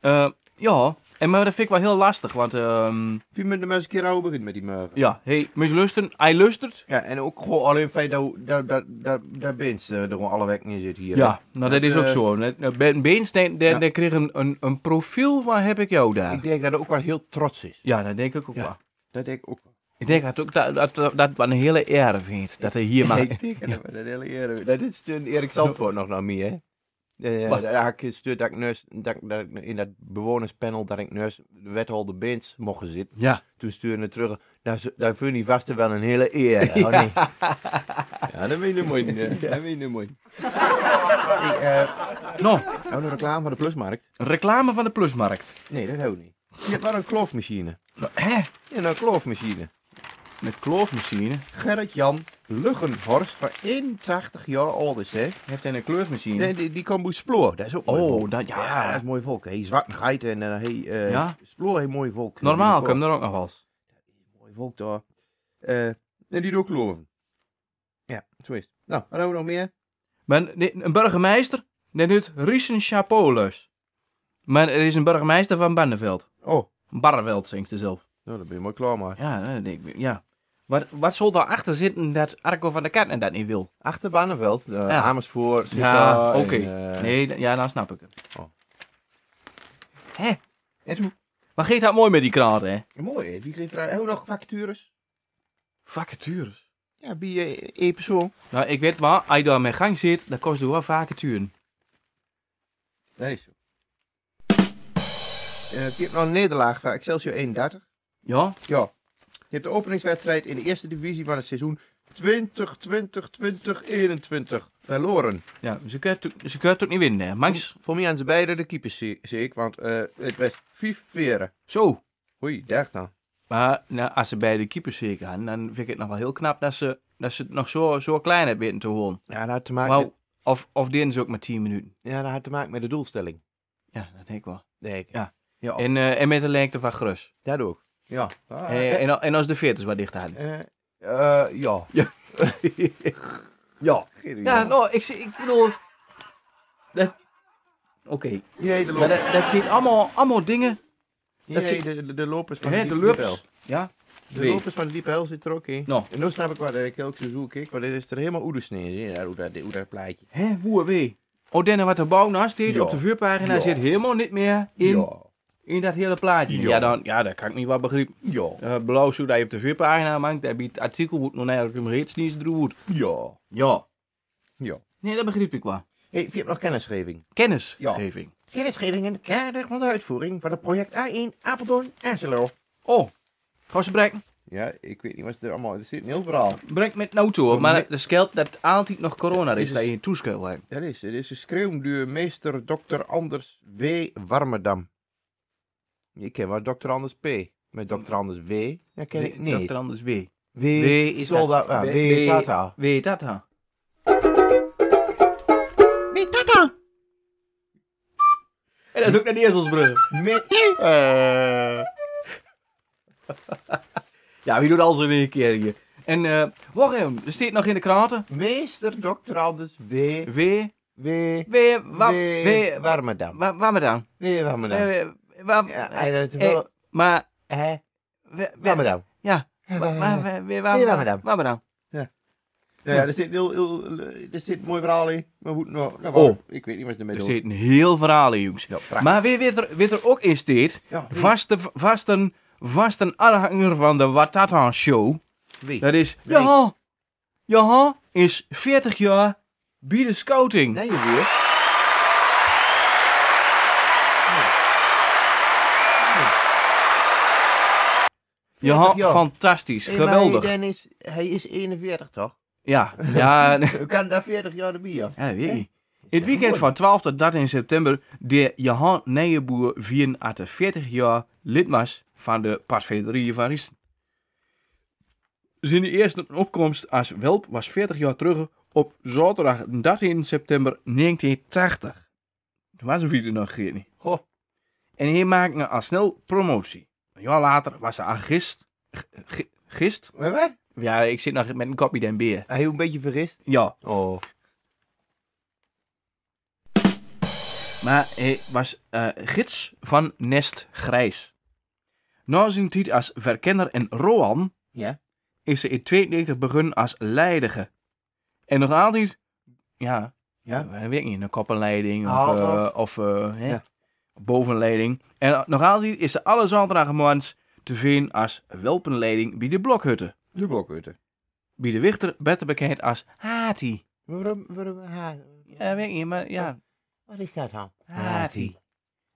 Speaker 3: Eh, ja, En maar dat vind ik wel heel lastig, want ehm,
Speaker 4: Wie moet de mensen een keer over beginnen met die meugen?
Speaker 3: ja, hey, mensen luisteren, hij luistert.
Speaker 4: Ja, en ook gewoon alleen feit dat, dat, dat, dat, dat Bins eh, er gewoon alle wekken in zit hier.
Speaker 3: Ja, nou dat,
Speaker 4: Dat,
Speaker 3: is ook
Speaker 4: eh,
Speaker 3: zo. Net- eh, Ben Beens, die, die-
Speaker 4: Ja.
Speaker 3: die kreeg een, een, een profiel van heb ik jou daar.
Speaker 4: Ik denk dat hij ook wel heel trots is.
Speaker 3: Ja, dat denk ik ook
Speaker 4: Ja.
Speaker 3: wel.
Speaker 4: Dat denk ik ook wel.
Speaker 3: Ik denk dat ook dat, dat, dat, dat wel een hele eer vindt, dat hij hier maar...
Speaker 4: Ik denk dat we dat hele eer... Dat is toen Erik Zandvoort nog naar mij, hè? Eh,
Speaker 3: Wat?
Speaker 4: dat had ik gestuurd dat ik, neus, dat, ik- dat ik in dat bewonerspanel dat ik neus de wethouder Bins mocht zitten.
Speaker 3: Ja,
Speaker 4: Toen stuurde het terug. Daar, z- daar vind je vast wel een hele eer. hè? Oh, nee. ja, dat weet je mooi. niet, hè. Dat weet je mooi. niet. hey, eh,
Speaker 3: nou,
Speaker 4: hebben we een reclame van de plusmarkt?
Speaker 3: een reclame van de plusmarkt.
Speaker 4: Nee, dat ook niet. Je hebt wel een kloofmachine.
Speaker 3: Nou, hè?
Speaker 4: Ja, een kloofmachine.
Speaker 3: Een kloofmachine.
Speaker 4: Gerrit-Jan Luggenhorst, van 81 jaar oud is, hè?
Speaker 3: Heeft hij een kloofmachine?
Speaker 4: Nee, die, die kan bij Sploor. Dat is ook mooi
Speaker 3: Oh,
Speaker 4: volk.
Speaker 3: dat, ja.
Speaker 4: Ja, dat is mooi volk. Hey, zwarte geit en eh hey, eh,
Speaker 3: Ja?
Speaker 4: Sploor heeft mooi volk.
Speaker 3: Normaal
Speaker 4: kan
Speaker 3: kan er ook nog wel eens.
Speaker 4: Mooi volk daar. Eh, en die doet ook kloven. Ja, zo is het. Nou, wat hebben we nog meer?
Speaker 3: Maar nee, een burgemeester, die doet Riesen Chapolus. Maar er is een burgemeester van Barneveld.
Speaker 4: Oh,
Speaker 3: Barneveld zingt er zelf.
Speaker 4: nou, dan ben je mooi klaar, maar.
Speaker 3: Ja, dat denk ik, ja. Wat, wat zal daarachter zitten dat Arco van der Katten dat niet wil?
Speaker 4: Achter Barneveld, eh, Amersfoort, zit
Speaker 3: Ja,
Speaker 4: daar
Speaker 3: oké.
Speaker 4: en, eh,
Speaker 3: Nee, d- ja, dan snap ik het.
Speaker 4: Oh.
Speaker 3: Hé,
Speaker 4: En zo.
Speaker 3: maar geeft dat mooi met die kraat, hè?
Speaker 4: Mooi, hè? wie kreeg er ook nog vacatures?
Speaker 3: Vacatures.
Speaker 4: Ja, bij eh, één persoon.
Speaker 3: Nou, ik weet maar, als je daar met gang zit, dan kost het wel vacaturen.
Speaker 4: Dat is zo. Eh, je hebt nog een nederlaag van Excelsior 31.
Speaker 3: Ja?
Speaker 4: Ja. Je hebt de openingswedstrijd in de eerste divisie van het seizoen 2020-2021 verloren.
Speaker 3: Ja, ze kunnen het ook- ze kunnen het ook niet winnen, hè? Max,
Speaker 4: Voor mij aan ze beide de keepers zie zie ik, want eh, het was vijf veren.
Speaker 3: zo.
Speaker 4: Oei, daar dan.
Speaker 3: Maar nou, als ze bij de keepers zeker gaan, dan vind ik het nog wel heel knap dat ze, dat ze het nog zo, zo klein hebben weten te horen.
Speaker 4: Ja, dat had te maken,
Speaker 3: Wauw. Of, of deden ze ook maar 10 minuten.
Speaker 4: ja, dat had te maken met de doelstelling.
Speaker 3: Ja, dat denk ik wel.
Speaker 4: Nee, ik-
Speaker 3: Ja.
Speaker 4: ja en,
Speaker 3: En, eh, en met de lengte van Grus.
Speaker 4: dat ook. Ja. Oh. Ah,
Speaker 3: En, en, al- en als de veerters wat dicht hadden.
Speaker 4: eh, eh, ja.
Speaker 3: Ja.
Speaker 4: ja.
Speaker 3: Ja, nou, ik, zie- ik bedoel... Dat... Oké,
Speaker 4: Hier de,
Speaker 3: maar
Speaker 4: lopers.
Speaker 3: dat, dat zit allemaal, allemaal dingen...
Speaker 4: Oh, Hier
Speaker 3: dat zie-
Speaker 4: de, de, de lopers van
Speaker 3: Hè,
Speaker 4: de
Speaker 3: de
Speaker 4: diep-
Speaker 3: lups.
Speaker 4: diepel.
Speaker 3: Ja?
Speaker 4: De lopers van de diepe hel zit er ook in.
Speaker 3: Nou.
Speaker 4: En dan snap ik waar ik ook zo zoek ik, want dit is er helemaal oedersneer. Ja, hoe dat, hoe dat plaatje.
Speaker 3: Hè, hoe we? Oh, Denne, wat er bouw naast zit
Speaker 4: Ja.
Speaker 3: op de vuurpagina
Speaker 4: Ja.
Speaker 3: zit helemaal niet meer in,
Speaker 4: Ja.
Speaker 3: in dat hele plaatje. Ja,
Speaker 4: Ja.
Speaker 3: dan, ja dat kan ik niet wat begrijpen.
Speaker 4: Ja.
Speaker 3: Eh blauw zo dat je op de vuurpagina maakt, dat biedt het artikel wordt nog eigenlijk om reeds niet droeg.
Speaker 4: Ja.
Speaker 3: Ja.
Speaker 4: Ja.
Speaker 3: Nee, dat begreep ik wel.
Speaker 4: Hey, je hebt nog kennisgeving.
Speaker 3: Kennisgeving.
Speaker 4: Kennisgeving in het kader van de uitvoering van het project A1 Apeldoorn Angelo.
Speaker 3: Oh, gaan ze breken?
Speaker 4: Ja, ik weet niet wat ze er allemaal... Er zit een heel verhaal.
Speaker 3: Breng met een auto op, maar
Speaker 4: nee.
Speaker 3: de scheelt dat altijd nog corona is,
Speaker 4: Is
Speaker 3: dat
Speaker 4: het-
Speaker 3: je een toestel hebt.
Speaker 4: Dat is, het is geschreeuwd door meester Dr. Anders W. Warmerdam. Ik ken wel Dr. Anders P. Met Dr. Anders W. Dat ken ik niet.
Speaker 3: Dr. Anders W.
Speaker 4: W.
Speaker 3: W is
Speaker 4: Zal
Speaker 3: dat.
Speaker 4: dat...
Speaker 3: W-
Speaker 4: ja, W.
Speaker 3: W-
Speaker 4: Tata.
Speaker 3: W Tata. En dat is ook naar de Ezelsbrug.
Speaker 4: Met... eh,
Speaker 3: Ja, wie doet al zo in één keer hier? En eh, wacht even, er staat nog in de kranten.
Speaker 4: Meester Dr. Anders W.
Speaker 3: W.
Speaker 4: W.
Speaker 3: W. Wa, w. Wa,
Speaker 4: Warmerdam.
Speaker 3: wa, waar me dan?
Speaker 4: W. Warmerdam.
Speaker 3: Eh, wa-
Speaker 4: Ja, hij dat is
Speaker 3: eh,
Speaker 4: wel...
Speaker 3: Maar.
Speaker 4: Hè?
Speaker 3: we- we-
Speaker 4: Warmerdam.
Speaker 3: Ja.
Speaker 4: Eh,
Speaker 3: wa- wa- wa- wa- wa-
Speaker 4: eh, waar me dan?
Speaker 3: Waar me dan?
Speaker 4: Nou ja, er zit, heel, heel, er zit een mooi verhaal in. Maar hoe, nou, nou,
Speaker 3: Oh.
Speaker 4: ik weet niet wat ze ermee
Speaker 3: Er
Speaker 4: doen.
Speaker 3: zit een heel verhaal in, jongens.
Speaker 4: Ja, prachtig.
Speaker 3: Maar wie weet er, weet er ook in steeds,
Speaker 4: Ja, wie?
Speaker 3: vaste, vasten, vasten aanhanger van de Watata Show.
Speaker 4: Wie?
Speaker 3: Dat is,
Speaker 4: Wie?
Speaker 3: Johan, Johan is 40 jaar bij de scouting.
Speaker 4: Nee, weer.
Speaker 3: Johan,
Speaker 4: jaar.
Speaker 3: fantastisch, geweldig.
Speaker 4: Dennis, hij is 41 toch?
Speaker 3: Ja, ja, nee,
Speaker 4: Hoe kan daar 40 jaar de bier?
Speaker 3: ja, weet je. In het weekend van 12 tot 13 september de Johan Nijenboer vieren uit de 40 jaar lid was van de Parfederie van Riesen. Zijn eerste opkomst als welp was 40 jaar terug op zaterdag 13 september 1980. Toen was hij er nog geen.
Speaker 4: Goh.
Speaker 3: En hij maakte al snel promotie. Een jaar later was hij aan gist. g- g- Gist?
Speaker 4: Maar wat?
Speaker 3: Ja, ik zit nog met een kopje den beer.
Speaker 4: Hij Oh. is een beetje vergist.
Speaker 3: Ja.
Speaker 4: Oh.
Speaker 3: Maar hij was eh, gids van Nest Grijs. Na zijn tijd als verkenner en Roan
Speaker 7: Ja.
Speaker 3: is ze in 92 begonnen als leidige. En nog altijd, ja,
Speaker 7: Ja.
Speaker 3: eh, weet ik niet, een koppenleiding of,
Speaker 7: Ah,
Speaker 3: eh,
Speaker 7: ah.
Speaker 3: of eh, hè,
Speaker 4: Ja.
Speaker 3: bovenleiding. En nog altijd is ze alle zaterdagmorgens te vinden als welpenleiding bij de blokhutten.
Speaker 4: De blokhutten.
Speaker 3: Bij de wichter beter bekend als Hati.
Speaker 4: Waarom, waarom, ha,
Speaker 3: Ja, weet ik niet, maar ja,
Speaker 4: wat is dat dan?
Speaker 3: Hati.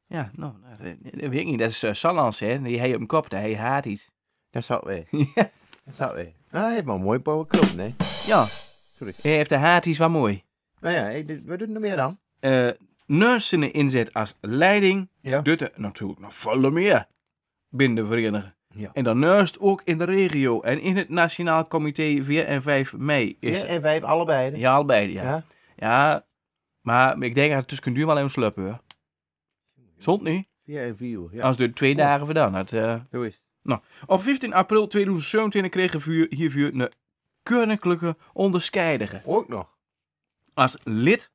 Speaker 3: Ja, nou, dat, eh, dat weet ik niet. Dat is eh, Salans, hè. Die hij op hem kop, hij haat iets.
Speaker 4: Dat zou weer. Dat zou weer. Nou, hij heeft maar een mooi blauwe krop, nee.
Speaker 3: ja.
Speaker 4: Sorry.
Speaker 3: Hij heeft de haat iets wat mooi.
Speaker 4: Nou ja, hey, dit- wat doet hij nog meer dan?
Speaker 3: eh Nussen inzet als leiding,
Speaker 4: Ja.
Speaker 3: doet er natuurlijk nog veel meer binnen de vereniging.
Speaker 4: Ja.
Speaker 3: En dan naast ook in de regio en in het Nationaal Comité 4 en 5 mei. Is
Speaker 4: Vier en vijf, allebei. hè?
Speaker 3: Ja, allebei, ja.
Speaker 4: Ja.
Speaker 3: ja. maar ik denk dat het tussen duur wel even sluppen, hoor. Zond nu,
Speaker 4: Vier en vier, ja.
Speaker 3: als het er twee dagen gedaan had. eh.
Speaker 4: Zo is het.
Speaker 3: Op 15 april 2017 kregen we hiervoor een koninklijke onderscheiding
Speaker 4: Ook nog.
Speaker 3: als lid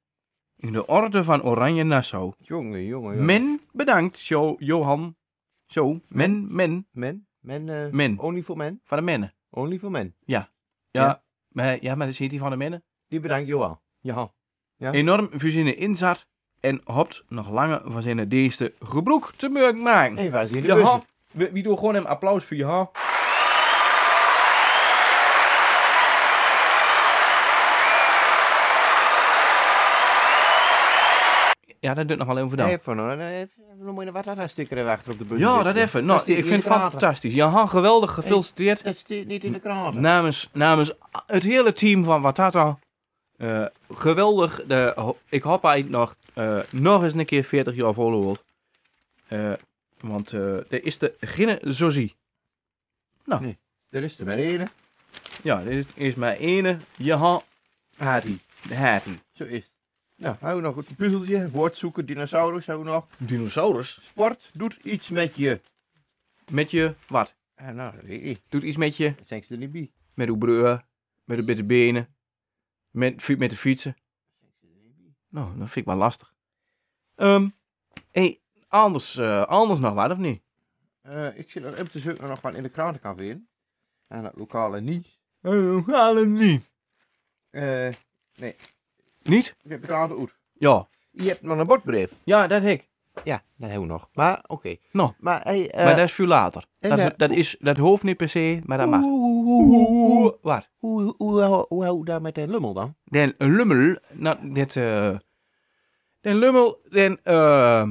Speaker 3: in de Orde van Oranje Nassau.
Speaker 4: Jongen, jongen, jongen.
Speaker 3: Men bedankt, Jo- Johan. Zo, men, men,
Speaker 4: Men? Men? eh,
Speaker 3: Men.
Speaker 4: Only for men?
Speaker 3: van de mennen.
Speaker 4: Only for men.
Speaker 3: Ja,
Speaker 4: Ja.
Speaker 3: Maar, ja, maar dat ziet hij van de mennen.
Speaker 4: Die bedankt Johan. Ja. Ja.
Speaker 3: Enorm voor zijn inzet en hoopt nog langer van zijn diensten gebroek te mogen maken.
Speaker 4: Hé, waar is hier de
Speaker 3: Ja,
Speaker 4: bus?
Speaker 3: hop. we, we doen gewoon een applaus voor Johan. Ja, dat doet nog wel even voor dan.
Speaker 4: Even hoor, dan eh, even- dan moet je nog wat aan stickeren achter op de bus.
Speaker 3: Ja,
Speaker 4: zitten.
Speaker 3: dat even.
Speaker 4: Dat
Speaker 3: Nou,
Speaker 4: stikt
Speaker 3: ik
Speaker 4: niet
Speaker 3: vind
Speaker 4: in
Speaker 3: het
Speaker 4: de kraten.
Speaker 3: fantastisch. Johan, geweldig gefeliciteerd.
Speaker 4: Dat zit niet in de kraan.
Speaker 3: Namens, namens het hele team van Watata. eh, geweldig. De, ho- ik hoop hij het nog, eh, nog eens een keer 40 jaar volhoudt. Eh, want eh er is de Ginne Zozie.
Speaker 4: Er is er maar één.
Speaker 3: Ja, dit is, is mijn ene Johan
Speaker 4: Ah, die.
Speaker 3: de Hattie.
Speaker 4: Zo is het. Nou, hou nog een puzzeltje. Woord zoeken, dinosaurus hou nog.
Speaker 3: Dinosaurus?
Speaker 4: Sport doet iets met je.
Speaker 3: Met je, wat?
Speaker 4: Ah, nou, dat weet ik.
Speaker 3: Doet iets met je?
Speaker 4: Dat zijn ze er niet bij.
Speaker 3: Met uw breur, met de bitte benen, met, fi- met de fietsen. Nou, dat vind ik wel lastig. Ehm hey, anders, eh, anders nog wat, of niet?
Speaker 4: Eh, ik zit nog even te zoeken nog wat in de kraan kan vinden. Aan het lokale niet.
Speaker 3: Allemaal Eh, niet.
Speaker 4: Eh,
Speaker 3: Niet?
Speaker 4: ik heb de kraan uit.
Speaker 3: Ja.
Speaker 4: Je hebt nog een bordbrief.
Speaker 3: Ja, dat heb ik.
Speaker 4: Ja, dat hebben we nog. Maar, oké.
Speaker 3: Nou.
Speaker 4: Maar, hey, eh,
Speaker 3: maar dat is veel later.
Speaker 4: en,
Speaker 3: Dat,
Speaker 4: eh,
Speaker 3: dat, is, dat hoeft niet per se, maar dat mag.
Speaker 4: Hoe, hoe, hoe, hoe, hoe,
Speaker 3: Waar?
Speaker 4: hoe, hoe, hoe, hoe hou je daar met de lummel dan?
Speaker 3: Den Lummel, nou, dit, eh Den Lummel, den, eh,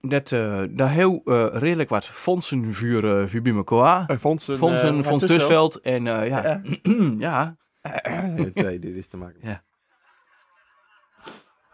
Speaker 3: dat, eh daar heel eh, redelijk wat fondsen voor, eh voor bij elkaar.
Speaker 4: Fonsen.
Speaker 3: Fonsen, eh, Fons Tussveld en eh, ja. ja.
Speaker 4: Eh, dit is te maken.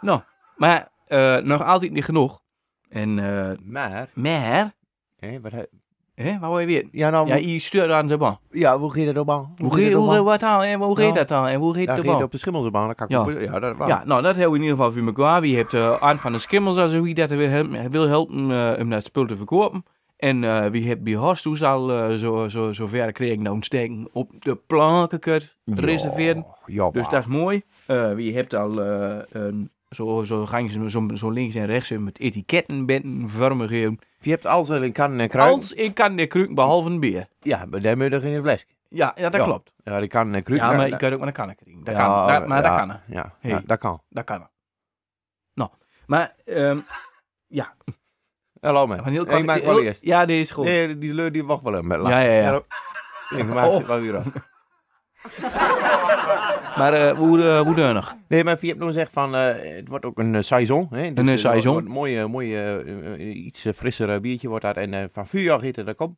Speaker 3: Nou, maar eh, nog altijd niet genoeg. En, eh
Speaker 4: Maar,
Speaker 3: maar,
Speaker 4: hè, wat hij-
Speaker 3: hè, wat wil je weten?
Speaker 4: ja, nou,
Speaker 3: Ja,
Speaker 4: ja,
Speaker 3: je stuurt aan de baan.
Speaker 4: hoe ging dat op aan?
Speaker 3: Hoe geet
Speaker 4: dat op
Speaker 3: hoe-
Speaker 4: aan?
Speaker 3: wat aan en hoe
Speaker 4: Ja.
Speaker 3: heet dat dan en hoe Nou, heet
Speaker 4: Ja,
Speaker 3: de
Speaker 4: ging het
Speaker 3: baan?
Speaker 4: op de schimmelse baan, dan kan ik
Speaker 3: Ja.
Speaker 4: ook- ja, dat was.
Speaker 3: Ja, nou, dat hebben we in ieder geval voor elkaar. Wie heeft eh aan van de skimmels als wie dat wil, hem- wil helpen eh, om dat spul te verkopen. En eh, wie heeft bij Horstoes al eh, zo, zo, zo ver kregen nou een steken op de planken kunt reserveren.
Speaker 4: Oh, Ja,
Speaker 3: Dus dat is mooi. Eh, wie hebt al eh, een, zo, zo, gang ze zo, zo links en rechts met etikettenbenden vormen geven.
Speaker 4: Je hebt alles wel in kannen en kruiden.
Speaker 3: Als ik kan de kruik behalve een bier.
Speaker 4: Ja, maar daar moet je er geen fles.
Speaker 3: Ja, ja, dat
Speaker 4: Ja.
Speaker 3: klopt.
Speaker 4: Ja, die kannen en kruiden.
Speaker 3: Ja, maar
Speaker 4: daar-
Speaker 3: je
Speaker 4: daar-
Speaker 3: kunt ook maar een kannen krijgen. Dat
Speaker 4: ja,
Speaker 3: kan. Dat, maar
Speaker 4: ja,
Speaker 3: dat kan. hè.
Speaker 4: Ja,
Speaker 3: Hey.
Speaker 4: ja, dat kan.
Speaker 3: Dat kan. hè. Nou, maar ehm,
Speaker 4: Hallo man.
Speaker 3: Van heel
Speaker 4: Hey,
Speaker 3: kwam-
Speaker 4: maak
Speaker 3: heel-
Speaker 4: wel eerst.
Speaker 3: Ja, die is goed.
Speaker 4: Nee, die leur die wacht wel even. met
Speaker 3: ja,
Speaker 4: lachen.
Speaker 3: ja, ja.
Speaker 4: Ik maak
Speaker 3: Oh.
Speaker 4: ze wel weer af.
Speaker 3: Maar eh, hoe, eh hoe deunig?
Speaker 4: Nee, maar je hebt nog gezegd van, eh, het wordt ook een eh, saison. Hè?
Speaker 3: Een, eh,
Speaker 4: eh,
Speaker 3: saison.
Speaker 4: wordt Een mooi, eh, mooi eh, eh, eh, iets eh, frisser eh, biertje wordt dat. En eh, van vuurjacht heet dat komt.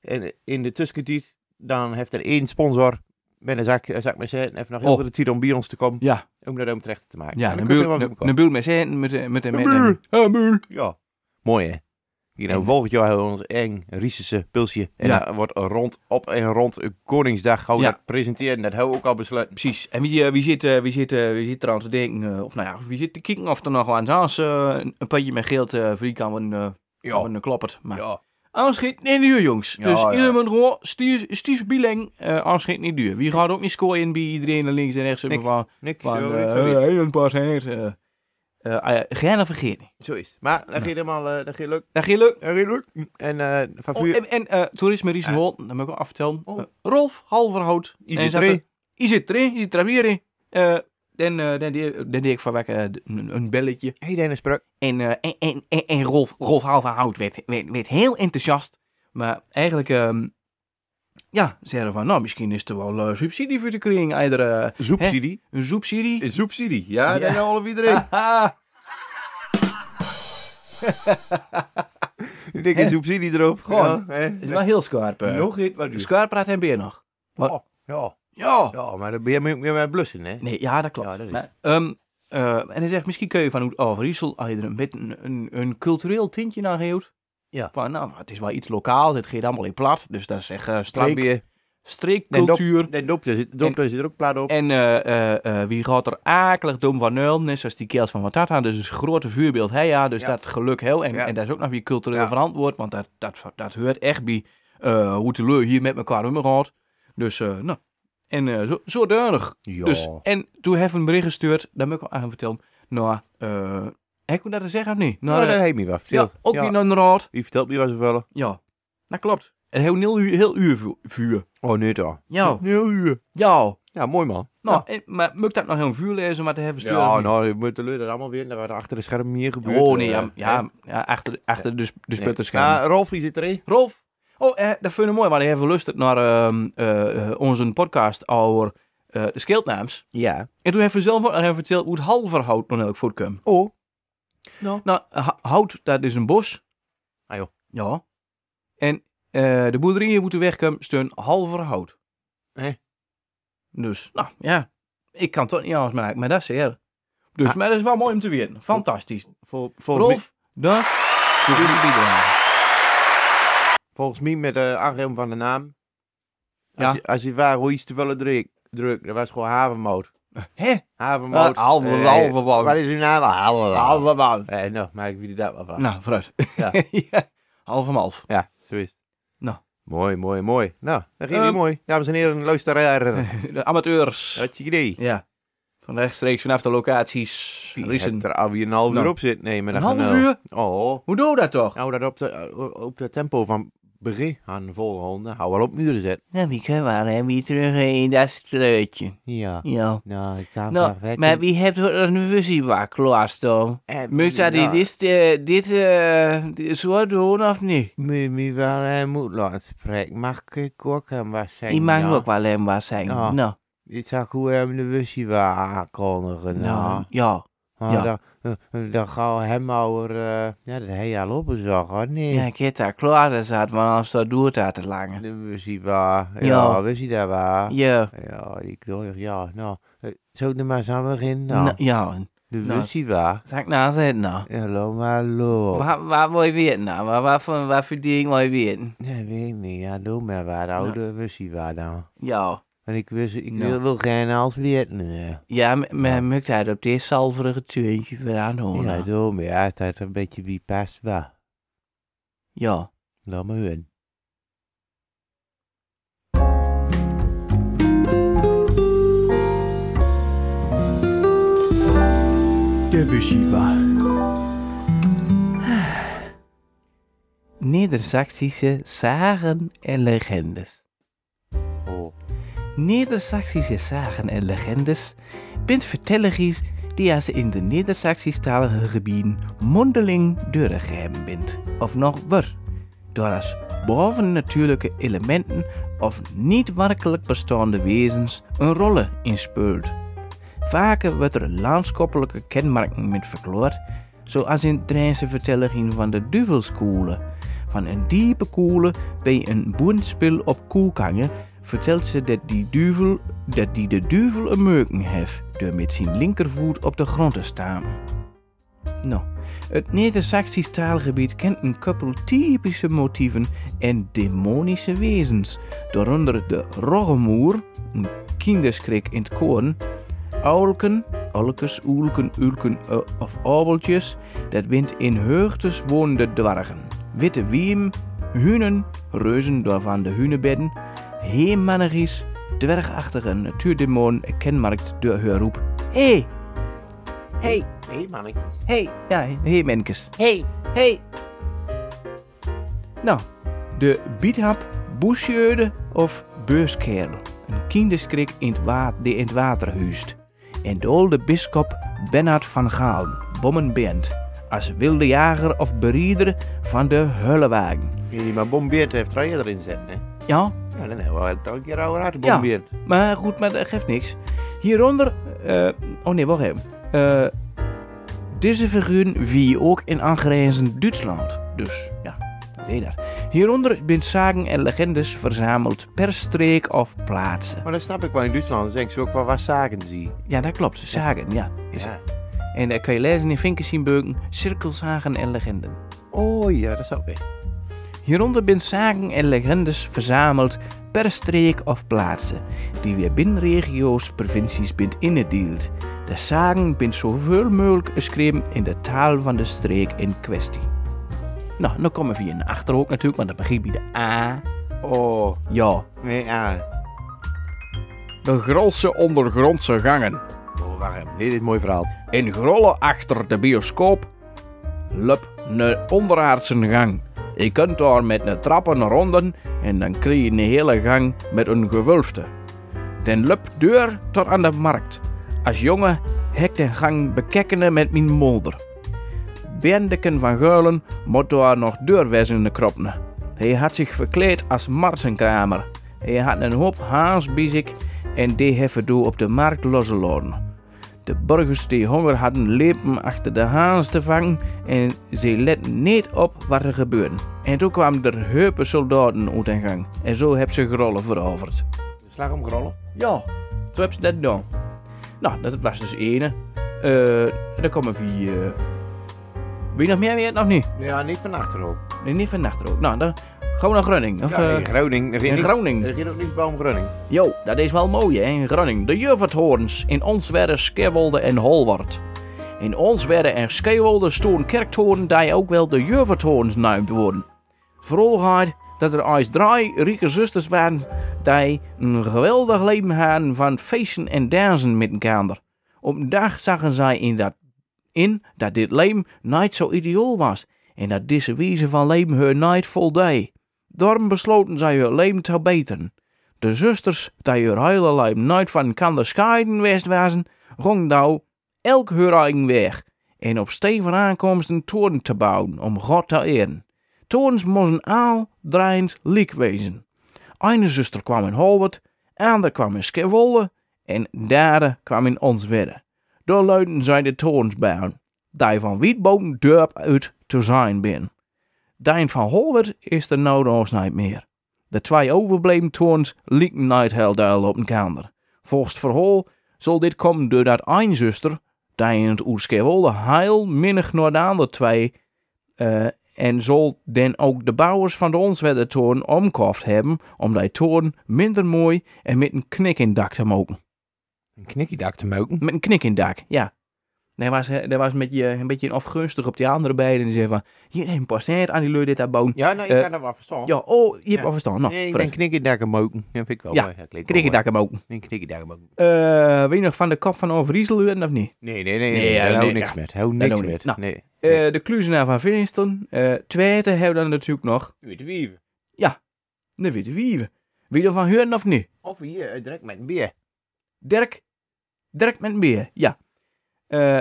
Speaker 4: En eh, in de tussentijd, dan heeft er één sponsor met een zak, een zak met zet. Even nog heel
Speaker 3: Oh.
Speaker 4: veel de tijd om bij ons te komen.
Speaker 3: Ja,
Speaker 4: Om naar hem terecht te maken.
Speaker 3: ja
Speaker 4: En
Speaker 3: een
Speaker 4: dan kun je wel
Speaker 3: buur,
Speaker 4: weer
Speaker 3: een-
Speaker 4: komen.
Speaker 3: een buur met zijn, met, eh, met, met, met,
Speaker 4: buur.
Speaker 3: een buur.
Speaker 4: Ja, mooi hè. Hier nou, volgend jaar hebben we ons eng Riesische pilsje. En
Speaker 3: Ja.
Speaker 4: dat wordt rond op en rond eh, Koningsdag gaan we
Speaker 3: Ja.
Speaker 4: dat presenteren. Dat hebben we ook al besloten.
Speaker 3: Precies. En wie, eh, wie, zit, eh, wie, zit, eh, wie zit eraan te denken, eh, of nou ja, wie zit te kijken of er nog aan zaans eh, een, een potje met geld eh voor die kan worden, eh
Speaker 4: Ja.
Speaker 3: worden klopperd. Maar
Speaker 4: Ja.
Speaker 3: aanschiet niet duur, jongens.
Speaker 4: Ja,
Speaker 3: dus
Speaker 4: ja.
Speaker 3: iedereen moet gewoon stief, stief bieleng, eh aanschiet niet duur. Wie gaat ook niet scoren bij iedereen naar links en rechts.
Speaker 4: Niks.
Speaker 3: Van,
Speaker 4: Niks.
Speaker 3: van
Speaker 4: zo,
Speaker 3: eh,
Speaker 4: niks van wie.
Speaker 3: eh, een paar cent, eh. eh, eh, geen vergeten.
Speaker 4: Zo is. het. Maar dat gaat helemaal, eh, dat gaat leuk.
Speaker 3: Dat ging leuk.
Speaker 4: Dat gaat leuk. En eh, van
Speaker 3: Oh,
Speaker 4: vuur,
Speaker 3: en en eh, toerisme Riesenhol, dat moet ik wel afvertellen.
Speaker 4: Oh.
Speaker 3: Eh, Rolf Halverhout.
Speaker 4: Is
Speaker 3: En
Speaker 4: het
Speaker 3: zat er-
Speaker 4: drie?
Speaker 3: Is het drie? Is het drie? Eh, Dan eh, dan deed dan deed ik van weg eh, d- een een belletje.
Speaker 4: hey Dennis Bruk.
Speaker 3: En, eh, en, en, en, en Rolf, Rolf Halverhout werd, werd, werd heel enthousiast. Maar eigenlijk, ehm, ja, zeiden van, nou, misschien is er wel eh, subsidie voor te krijgen. Eider, eh,
Speaker 4: Zoepsidie.
Speaker 3: een subsidie.
Speaker 4: Zoepsidie. Ja,
Speaker 3: Ja.
Speaker 4: Ah. dat is al iedereen.
Speaker 3: Haha.
Speaker 4: Ik denk een zoepsidie erop.
Speaker 3: Gewoon.
Speaker 4: Ja, hè.
Speaker 3: is wel heel scherp. eh.
Speaker 4: Nog iets wat duur.
Speaker 3: Scherp praat en weer nog.
Speaker 4: Ja.
Speaker 3: Ja.
Speaker 4: ja, maar dan ben je weer met blussen, hè?
Speaker 3: Nee, ja, dat klopt.
Speaker 4: Ja, dat is-
Speaker 3: Maar, ehm, eh, en hij zegt, misschien kun je van Overijssel als je er een, beetje een, een, een cultureel tintje naar geeft.
Speaker 4: Ja.
Speaker 3: Van, nou, het is wel iets lokaals, het gaat allemaal in plat. Dus dat is echt eh,
Speaker 4: Plaat
Speaker 3: streek,
Speaker 4: bier.
Speaker 3: streekcultuur.
Speaker 4: Nee, dop, daar zit, dop, daar zit er ook plaat op.
Speaker 3: En eh, eh, eh, wie gaat er akelig dom van nul, net zoals die keels van Watata. Dus het grote vuurbeeld, hè ja, dus
Speaker 4: Ja.
Speaker 3: dat geluk heel. En,
Speaker 4: Ja.
Speaker 3: en dat is ook nog weer cultureel
Speaker 4: Ja.
Speaker 3: verantwoord, want dat, dat, dat hoort echt bij eh, hoe de leur hier met elkaar omgaat. Dus, eh, nou, en eh, zo, zo deurig.
Speaker 4: Ja. Oh,
Speaker 3: Dus, en toen heeft een bericht gestuurd, daar moet ik wel aan vertellen. Nou, eh, heb ik dat te zeggen of niet? Nou,
Speaker 4: nou,
Speaker 3: eh,
Speaker 4: dat heeft me wel
Speaker 3: ja,
Speaker 4: verteld.
Speaker 3: ook weer naar de raad.
Speaker 4: Je vertelt me wel zoveel.
Speaker 3: Ja, dat klopt. Een heel, heel, uur- heel uur vu- vuur.
Speaker 4: Oh, nee toch.
Speaker 3: Ja,
Speaker 4: Heel uur.
Speaker 3: ja.
Speaker 4: Ja, mooi man.
Speaker 3: Nou, en- maar moet ik dat nog heel vuur lezen, maar te hebben
Speaker 4: Ja,
Speaker 3: verstuurd? of niet?
Speaker 4: nou, je moet de leuren allemaal weer naar wat er achter de schermen hier gebeurt.
Speaker 3: Oh nee,
Speaker 4: eh,
Speaker 3: ja,
Speaker 4: hè?
Speaker 3: ja, ja achter, achter de, sp- de
Speaker 4: Nee.
Speaker 3: sputterscherm.
Speaker 4: Ja, Rolf, die zit erin.
Speaker 3: Rolf, oh, eh, dat vind ik mooi, want hij heeft geluisterd naar ehm, eh, eh, onze podcast over eh, de scheeldnaams.
Speaker 4: Ja.
Speaker 3: En toen heeft hij zelf ook nog even verteld hoe het halverhout nog elk voortkomt.
Speaker 4: Oh.
Speaker 3: Nou, ha- hout, dat is een bos.
Speaker 4: Ah, joh.
Speaker 3: Ja. En eh, de boerderijen moeten wegkomen, steun halverhout.
Speaker 4: Hè?
Speaker 3: Dus, nou ja, ik kan toch niet anders maken, maar dat is er. Dus,
Speaker 4: Ah.
Speaker 3: maar dat is wel mooi om te weten. Fantastisch.
Speaker 4: Vol, volgens, mij,
Speaker 3: Rolf, dank voor deze bijdrage.
Speaker 4: volgens mij met de aangeven van de naam. Als,
Speaker 3: Ja.
Speaker 4: je, als je waar hoe iets te willen druk, druk, dat was gewoon havenmoot.
Speaker 3: Hè?
Speaker 4: Havenmoot.
Speaker 3: Ah, halve-
Speaker 4: Eh,
Speaker 3: halvemoot.
Speaker 4: Wat is uw naam? Halvermoot.
Speaker 3: Halvermaal.
Speaker 4: Eh, nou, maak ik jullie daar wel van.
Speaker 3: Nou, vooruit.
Speaker 4: Ja.
Speaker 3: Ja, Half om half.
Speaker 4: Ja, zo is het.
Speaker 3: Nou.
Speaker 4: Mooi, mooi, mooi. Nou, dat ging
Speaker 3: Ehm.
Speaker 4: weer mooi. Dames en heren, luisteraar.
Speaker 3: De amateurs.
Speaker 4: Had je idee?
Speaker 3: Ja. Van rechtstreeks vanaf de locaties.
Speaker 4: Je
Speaker 3: Riesen.
Speaker 4: hebt er alweer een half uur
Speaker 3: Nou.
Speaker 4: op zit. Nee, maar
Speaker 3: Een
Speaker 4: dat
Speaker 3: half
Speaker 4: gaan we-
Speaker 3: uur?
Speaker 4: Oh,
Speaker 3: Hoe doe dat toch?
Speaker 4: nou dat op de, op de tempo van begin aan volgende. Hou wel op muren zetten.
Speaker 3: Nou, wie kan waar en wie terug eh, in dat streutje.
Speaker 4: Ja.
Speaker 3: Ja.
Speaker 4: Nou, ik ga
Speaker 3: Nou,
Speaker 4: maar weg.
Speaker 3: maar wie heeft er een visie waar klaarstaan?
Speaker 4: Eh,
Speaker 3: Moet dat
Speaker 4: nou,
Speaker 3: dit, eh, dit, eh, dit zo doen of niet?
Speaker 4: Moet me wel eh, moed laten spreken. Mag ik ook hem wat zeggen?
Speaker 3: Die mag
Speaker 4: ja?
Speaker 3: ook wel hem wat zijn.
Speaker 4: Ja.
Speaker 3: Nou,
Speaker 4: Ik zag hoe hem de busje wil aankondigen.
Speaker 3: nou,
Speaker 4: Nou.
Speaker 3: ja.
Speaker 4: Ah,
Speaker 3: ja.
Speaker 4: Dan, eh, dan gaan we hem over... eh, ja, dat hij al op is al, hoor. Nee.
Speaker 3: Ja, ik heb daar klaar zat, want anders dan doet dat te lang.
Speaker 4: De busje waar. Ja,
Speaker 3: Ja.
Speaker 4: busje daar waar.
Speaker 3: Ja.
Speaker 4: Ja, die knor, ja. Nou, eh, zullen we er maar samen beginnen? Nou,
Speaker 3: Nou, ja.
Speaker 4: de
Speaker 3: nou.
Speaker 4: busje waar.
Speaker 3: Zal ik nou zeggen nou?
Speaker 4: Hallo, maar hallo.
Speaker 3: Waar, waar wil je weten nou? Waar, waar, voor, waar voor ding wil je weten?
Speaker 4: Nee, weet ik niet. Ja, doe maar waar. de Oude busje waar dan.
Speaker 3: Ja,
Speaker 4: Want ik, wist, ik
Speaker 3: Nou.
Speaker 4: wil, wil geen als weten. eh.
Speaker 3: ja maar moet dat op dit zalverige tuintje weer aanhoren?
Speaker 4: Ja, doe maar. Ja, dat een beetje wie past waar.
Speaker 3: ja.
Speaker 4: Laat me hun.
Speaker 3: De Bushiva. Neder-Saxische zagen en legendes.
Speaker 4: Oh.
Speaker 3: Neder-Saxische zagen en legendes bent vertelligis die als in de Neder-Saxisch-talige gebieden mondeling doorgegeven bent, of nog wer, door als bovennatuurlijke elementen of niet werkelijk bestaande wezens een rolle inspeelt. Vaker wordt er landskoppelijke kenmerken met verklaard, zoals in Drentse vertellingen van de duvelskoele. Van een diepe koele bij een boenspil op koelkangen vertelt ze dat die, duvel, dat die de duvel een meuken heeft door met zijn linkervoet op de grond te staan. Nou, het Neder-Saxisch taalgebied kent een koppel typische motieven en demonische wezens, daaronder de roggemoer, een kinderskrik in het koren, Oulken, olkes, oelken, ulken eh, of abeltjes, dat wint in heugtes wonende dwargen. Witte wiem, hunen, reuzen daarvan de hunebedden, heemmanneries, dwergachtige natuurdemon kenmerkt door haar roep. Hé! Hey. Hé! Hey.
Speaker 4: Hé, man.
Speaker 3: Hey. Ja, hey menkes.
Speaker 4: Hé.
Speaker 3: Hey. Nou, de biethap, boesjeurde of beurskerel. Een kinderskrik in het wa- die in het water huist. En dool de bisschop Bernard van Gaal, bommenband. Als wilde jager of berieder van de hullewagen.
Speaker 4: Die maar bombeert heeft Traje erin zetten, hè?
Speaker 3: Ja,
Speaker 4: Ja, dan hebben we toch een keer oude hart bombeert.
Speaker 3: maar goed, maar dat geeft niks. Hieronder, eh, oh nee, wacht even. Eh, deze figuur wie je ook in aangrenzend Duitsland. Dus ja, weet dat. Hieronder bent zaken en legendes verzameld per streek of plaatsen.
Speaker 4: Maar dat snap ik wel in Duitsland. Dan denk ze ook wel wat zaken zie.
Speaker 3: Ja, dat klopt. Zaken, ja. Is
Speaker 4: Ja.
Speaker 3: het. En dat kan je lezen in Vinkensienbeuken, cirkelzagen en legenden.
Speaker 4: Oh ja, dat zou ik.
Speaker 3: Hieronder bent zaken en legendes verzameld per streek of plaatsen, die weer binnen regio's, provincies bent ingedeeld. De zaken bent zoveel mogelijk geschreven in de taal van de streek in kwestie. Nou, dan komen we hier in de achterhoek natuurlijk, want dat begint bij de A.
Speaker 4: Oh,
Speaker 3: Ja,
Speaker 4: nee, ja.
Speaker 3: de grootste ondergrondse gangen.
Speaker 4: Oh, wacht even. Dit is een mooi verhaal.
Speaker 3: In grollen achter de bioscoop lup een onderaardse gang. Je kunt daar met een trappen ronden en dan krijg je een hele gang met een gewulfte. Den lup deur tot aan de markt. Als jongen hek de gang bekekkende met mijn molder. Bendeken van Geulen moet daar nog deurwezen in de kroppen. Hij had zich verkleed als marsenkramer. Hij had een hoop haas bij zich en die hebben door op de markt losgelaten. De burgers die honger hadden lepen achter de haas te vangen en ze letten niet op wat er gebeurde. En toen kwamen er heupen soldaten uit en gang en zo hebben ze grollen veroverd.
Speaker 4: Slag om grollen.
Speaker 3: Ja, zo hebben ze dat gedaan. Nou, dat was dus ene. Eh dan komen we... eh Wie nog meer weet nog niet?
Speaker 4: Ja, niet van achterhoek.
Speaker 3: Nee, niet vannacht ook. Nou, dan gaan we naar Groningen. Of,
Speaker 4: Ja,
Speaker 3: eh,
Speaker 4: in Groningen. Er ging
Speaker 3: in
Speaker 4: niet-
Speaker 3: Groningen.
Speaker 4: Er ging ook niet boom Groningen.
Speaker 3: Jo, dat is wel mooi, hè, in Groningen. De Juverthoorns in Onswerre, Scherwolde en Holwart. In Onswerre en Scherwolde stonden kerktoren die ook wel de Juverthoorns noemd worden. Vroegheid dat er als drie rieke zusters waren die een geweldig leven hadden van feesten en dansen met elkaar. Op een dag zagen zij in dat, in dat dit leven niet zo ideaal was en dat deze wijze van leven hun niet voldee. Daarom besloten zij hun leven te beteren. De zusters, die hun hele lijm nooit van elkaar scheiden west waren, gingen nou elk hun eigen weg en op steen van aankomst een toren te bouwen om God te eren. Torens moesten al draaiend liek wezen. Eine zuster kwam in Holwert, ander kwam in Scherwolle en derde kwam in Onswedde. Door luiden zij de torens bouwen, die van Wietboom dorp uit te zijn bin. Dijn van Holwert is er nou de oors niet meer. De twee overbleven toorns lieken niet heel duidelijk op elkaar. Volgens het verhaal zal dit komen doordat een zuster, die in het Oerskewolde heel minnig naar de andere twee, eh, en zal dan ook de bouwers van de Onswedde toorn omkocht hebben om die toorn minder mooi en met een knik in het dak te maken.
Speaker 4: Een knikkiedak te melken.
Speaker 3: Met een knik in het dak, ja. Daar was, eh, daar was een, beetje, een beetje een afgunstig op die andere beiden. En die zei van, hier neem passeert aan die leur dit daar bouwen.
Speaker 4: Ja, nou, je
Speaker 3: Eh,
Speaker 4: kan dat wel verstaan.
Speaker 3: Ja, oh, je hebt
Speaker 4: Ja.
Speaker 3: al verstaan. Nou,
Speaker 4: nee, ik
Speaker 3: vooruit.
Speaker 4: denk knikkiedak en melken. Dat vind ik wel
Speaker 3: Ja,
Speaker 4: mooi. Dat klinkt wel
Speaker 3: knik in het
Speaker 4: mooi.
Speaker 3: dak hem ook.
Speaker 4: Een knikkiedak en melken.
Speaker 3: Eh weet je nog van de kop van Overijssel horen, of niet?
Speaker 4: Nee, nee, nee.
Speaker 3: Nee,
Speaker 4: nee,
Speaker 3: ja,
Speaker 4: daar hou
Speaker 3: nee,
Speaker 4: niks
Speaker 3: ja.
Speaker 4: met. Hou
Speaker 3: Daar
Speaker 4: niks
Speaker 3: doen we
Speaker 4: met.
Speaker 3: niet. Nou,
Speaker 4: Nee.
Speaker 3: Eh, De Kluizenaar van Vinsten. eh Twente hebben we dan natuurlijk nog.
Speaker 4: U te wieven.
Speaker 3: De Witte Wieven. Wie er van horen of niet?
Speaker 4: Of hier, eh, direct met een bier.
Speaker 3: Dirk. Dirk met een beer, ja. Eh,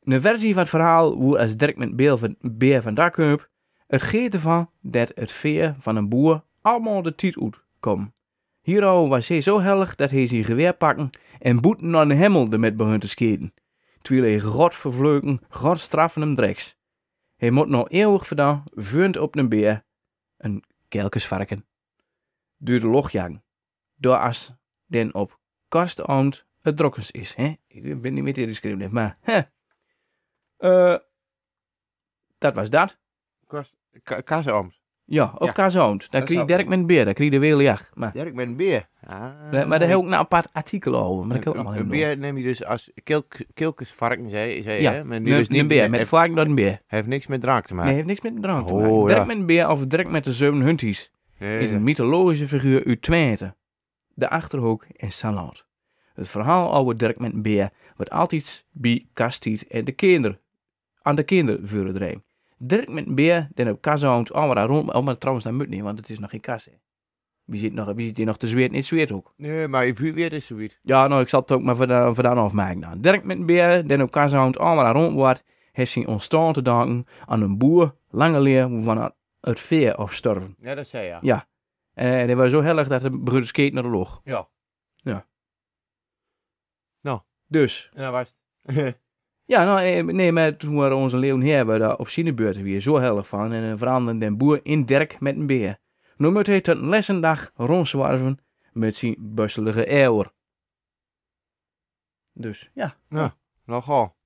Speaker 3: een versie van het verhaal hoe als Dirk met beer van, beer van dak komt. Het geeft ervan dat het veer van een boer allemaal de tiet uit komt. Hiero was hij zo hellig dat hij zijn geweer pakken en boeten aan de hemel ermee begon te schieten. Terwijl hij God vervleuken, God straffen hem dreks. Hij moet nog eeuwig vandaan, vuurend op een beer, een kelkersvarken. Duurde logjang. Door as den op karstoond het drokkens is. Hè? Ik ben niet meer te discrimineren, maar... Hè. Eh, dat was dat.
Speaker 4: Ka- Kaasooms.
Speaker 3: Ja, op
Speaker 4: Ja.
Speaker 3: karstoond. Daar
Speaker 4: Dat
Speaker 3: kreeg
Speaker 4: zou-
Speaker 3: Dirk met een beer, daar kreeg de weerjacht. Maar,
Speaker 4: Dirk met een bier. Ah,
Speaker 3: maar daar heb ik nou een apart artikel over. Maar oh, dat kan ik ook nog
Speaker 4: Een- Een
Speaker 3: even
Speaker 4: beer neem je dus als kilk, kilkesvarken, zei zei
Speaker 3: doen.
Speaker 4: je.
Speaker 3: Ja,
Speaker 4: hè? Maar
Speaker 3: een,
Speaker 4: nu dus niet
Speaker 3: een beer. Met
Speaker 4: heeft,
Speaker 3: varken dan een beer.
Speaker 4: heeft niks met drank te
Speaker 3: Nee,
Speaker 4: maken.
Speaker 3: heeft niks met drank te
Speaker 4: Oh,
Speaker 3: maken. Dirk
Speaker 4: ja.
Speaker 3: met een beer of Dirk met de zeven hunties.
Speaker 4: Nee.
Speaker 3: is een mythologische figuur uit Twente. De Achterhoek en Salat. Het verhaal oude Dirk met een beer wordt altijd bij Kastiet en de kinderen aan de kinderen voordringen. Dirk met een beer den op kast houdt, allemaal rond, allemaal trouwens naar mut niet, want het is nog geen kast. hè. Wie zit, nog, wie zit hier nog te zweten in het zweethoek?
Speaker 4: Nee, maar in vuur weer is zoiets.
Speaker 3: Ja, nou, ik zal het ook maar vandaan, vandaan afmaken. dan. Dirk met een beer, den op kazahond allemaal rond wordt, heeft zijn ontstaan te danken aan een boer, lange leer, waarvan het veer afsterven.
Speaker 4: Ja, dat zei je.
Speaker 3: Ja. En dat was zo hellig dat de broeders keek naar de log.
Speaker 4: Ja.
Speaker 3: Dus,
Speaker 4: En dat was het.
Speaker 3: ja, nou, eh, nee, maar toen waren onze leeuwen hier, we daar op Sinebeurt weer zo hellig van en eh, veranderden den boer in Dirk met een beer. Nu moet hij tot een lessendag rondzwerven met zijn busselige eeuwer. Dus, ja.
Speaker 4: Nogal.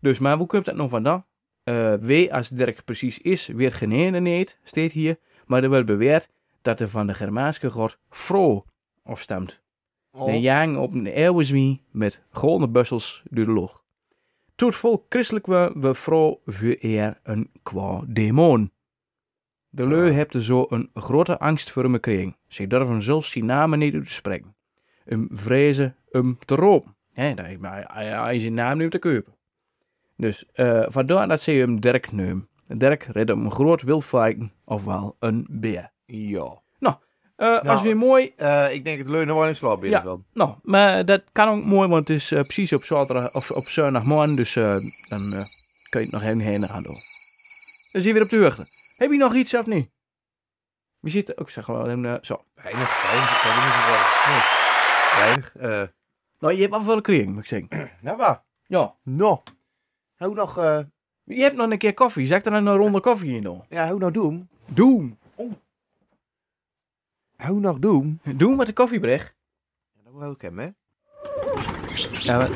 Speaker 3: Dus, maar hoe komt dat nou vandaan? Eh wee als Dirk precies is, weer geneden niet, staat hier. Maar er wordt beweerd dat er van de Germaanse god Fro afstamt. De jang op een eeuwenzwie met golden bussels door de log. Tot volk christelijk we, we Fro vereer een kwa demon. De leu hebt er zo een grote angst voor me gekregen. Ze durven zelfs zijn namen niet uit te spreken. Hem vrezen hem te roepen. Hè, dat- Hij hij- hij is zijn naam nu te kopen. Dus eh, vandaar dat ze hem Dirk noemen. Dirk redt op een groot wildvarken, ofwel een beer.
Speaker 4: Ja.
Speaker 3: Eh als weer mooi.
Speaker 4: Eh, ik denk het leunen wel in slaap binnen
Speaker 3: Ja.
Speaker 4: van.
Speaker 3: Nou, maar dat kan ook mooi, want het is eh, precies op zaterdag of op zondagmorgen. Dus eh, dan eh, kun je het nog even heen gaan doen. Dan zie je weer op de hoogte. Heb je nog iets of niet? We zitten ook, zeg maar, een, eh, zo.
Speaker 4: Weinig, weinig. Ik heb er niet zoveel. Nee. Weinig. eh.
Speaker 3: Nou, je hebt wel veel kring, moet ik zeggen.
Speaker 4: nou, waar?
Speaker 3: Ja.
Speaker 4: Nou. Hoe nog, eh,
Speaker 3: Je hebt nog een keer koffie. Zeg er dan een ronde koffie in doen.
Speaker 4: ja, hoe nog doen?
Speaker 3: Doen.
Speaker 4: Hoe nog doen?
Speaker 3: Doen met de koffiebrecht.
Speaker 4: Ja, dat wil ik hem, hè?
Speaker 3: Ja, maar-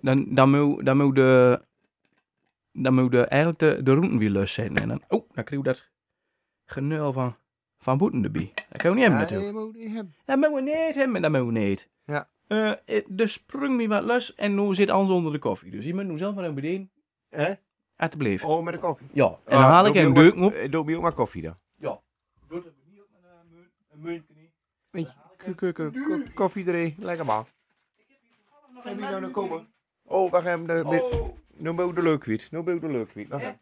Speaker 3: Dan, dan, moet, dan moet de... Dan moet de, eigenlijk de, de roentenwiel los zijn. En dan, oh, dan krijg je dat genul van, van boeten erbij. Dat kan je niet hebben
Speaker 4: ja,
Speaker 3: natuurlijk.
Speaker 4: je moet niet hebben.
Speaker 3: Dat moeten we niet hebben, dat moeten we niet.
Speaker 4: Ja.
Speaker 3: Eh, eh, dus sprung me wat los en nu zit alles onder de koffie. Dus je moet nu zelf maar een bedienen.
Speaker 4: Hè?
Speaker 3: Alsjeblieft.
Speaker 4: Oh, met de koffie.
Speaker 3: Ja, en dan haal ik een deuk op.
Speaker 4: Ah, Doe me ook maar koffie dan.
Speaker 3: Doe het niet op eh, een muntje niet.
Speaker 4: Weet je, k- k- k- koffie erin. Lekker maar. Heb je nou nog komen? Oh, wacht even. de- de- Nu ben ik de leukwiet. Nu ben ik de leukwiet. Wacht even.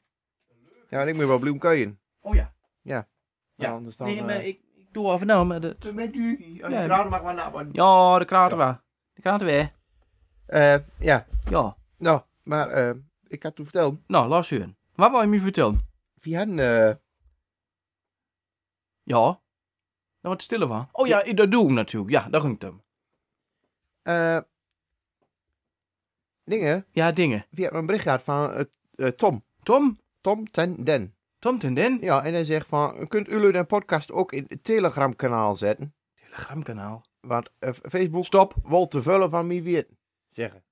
Speaker 4: Ja, en ik moet wel bloemkuien.
Speaker 3: Oh ja. Ja.
Speaker 4: Ja. Anders dan...
Speaker 3: Nee, maar
Speaker 4: eh,
Speaker 3: ik, ik doe even nou, maar dat...
Speaker 4: Met u.
Speaker 3: Ja.
Speaker 4: Ja, mag maar naar.
Speaker 3: Ja, de kraten we. De kraten we.
Speaker 4: Eh, ja.
Speaker 3: Ja.
Speaker 4: Nou, maar eh, ik had toen verteld.
Speaker 3: Nou, laat zien. Wat wil je me vertellen?
Speaker 4: Wie hadden... eh,
Speaker 3: Ja. Dan wordt het stiller van. Oh ja, dat doe ik natuurlijk. Ja, dat ging hem.
Speaker 4: eh, dingen.
Speaker 3: Ja, dingen.
Speaker 4: Wie had me een bericht gehad van eh, eh, Tom.
Speaker 3: Tom?
Speaker 4: Tom ten den.
Speaker 3: Tom ten den?
Speaker 4: Ja, en hij zegt van, kunt jullie de podcast ook in het Telegram-kanaal zetten?
Speaker 3: Telegramkanaal.
Speaker 4: Want eh, Facebook
Speaker 3: Stop.
Speaker 4: wil te vullen van wie weet. Zeggen.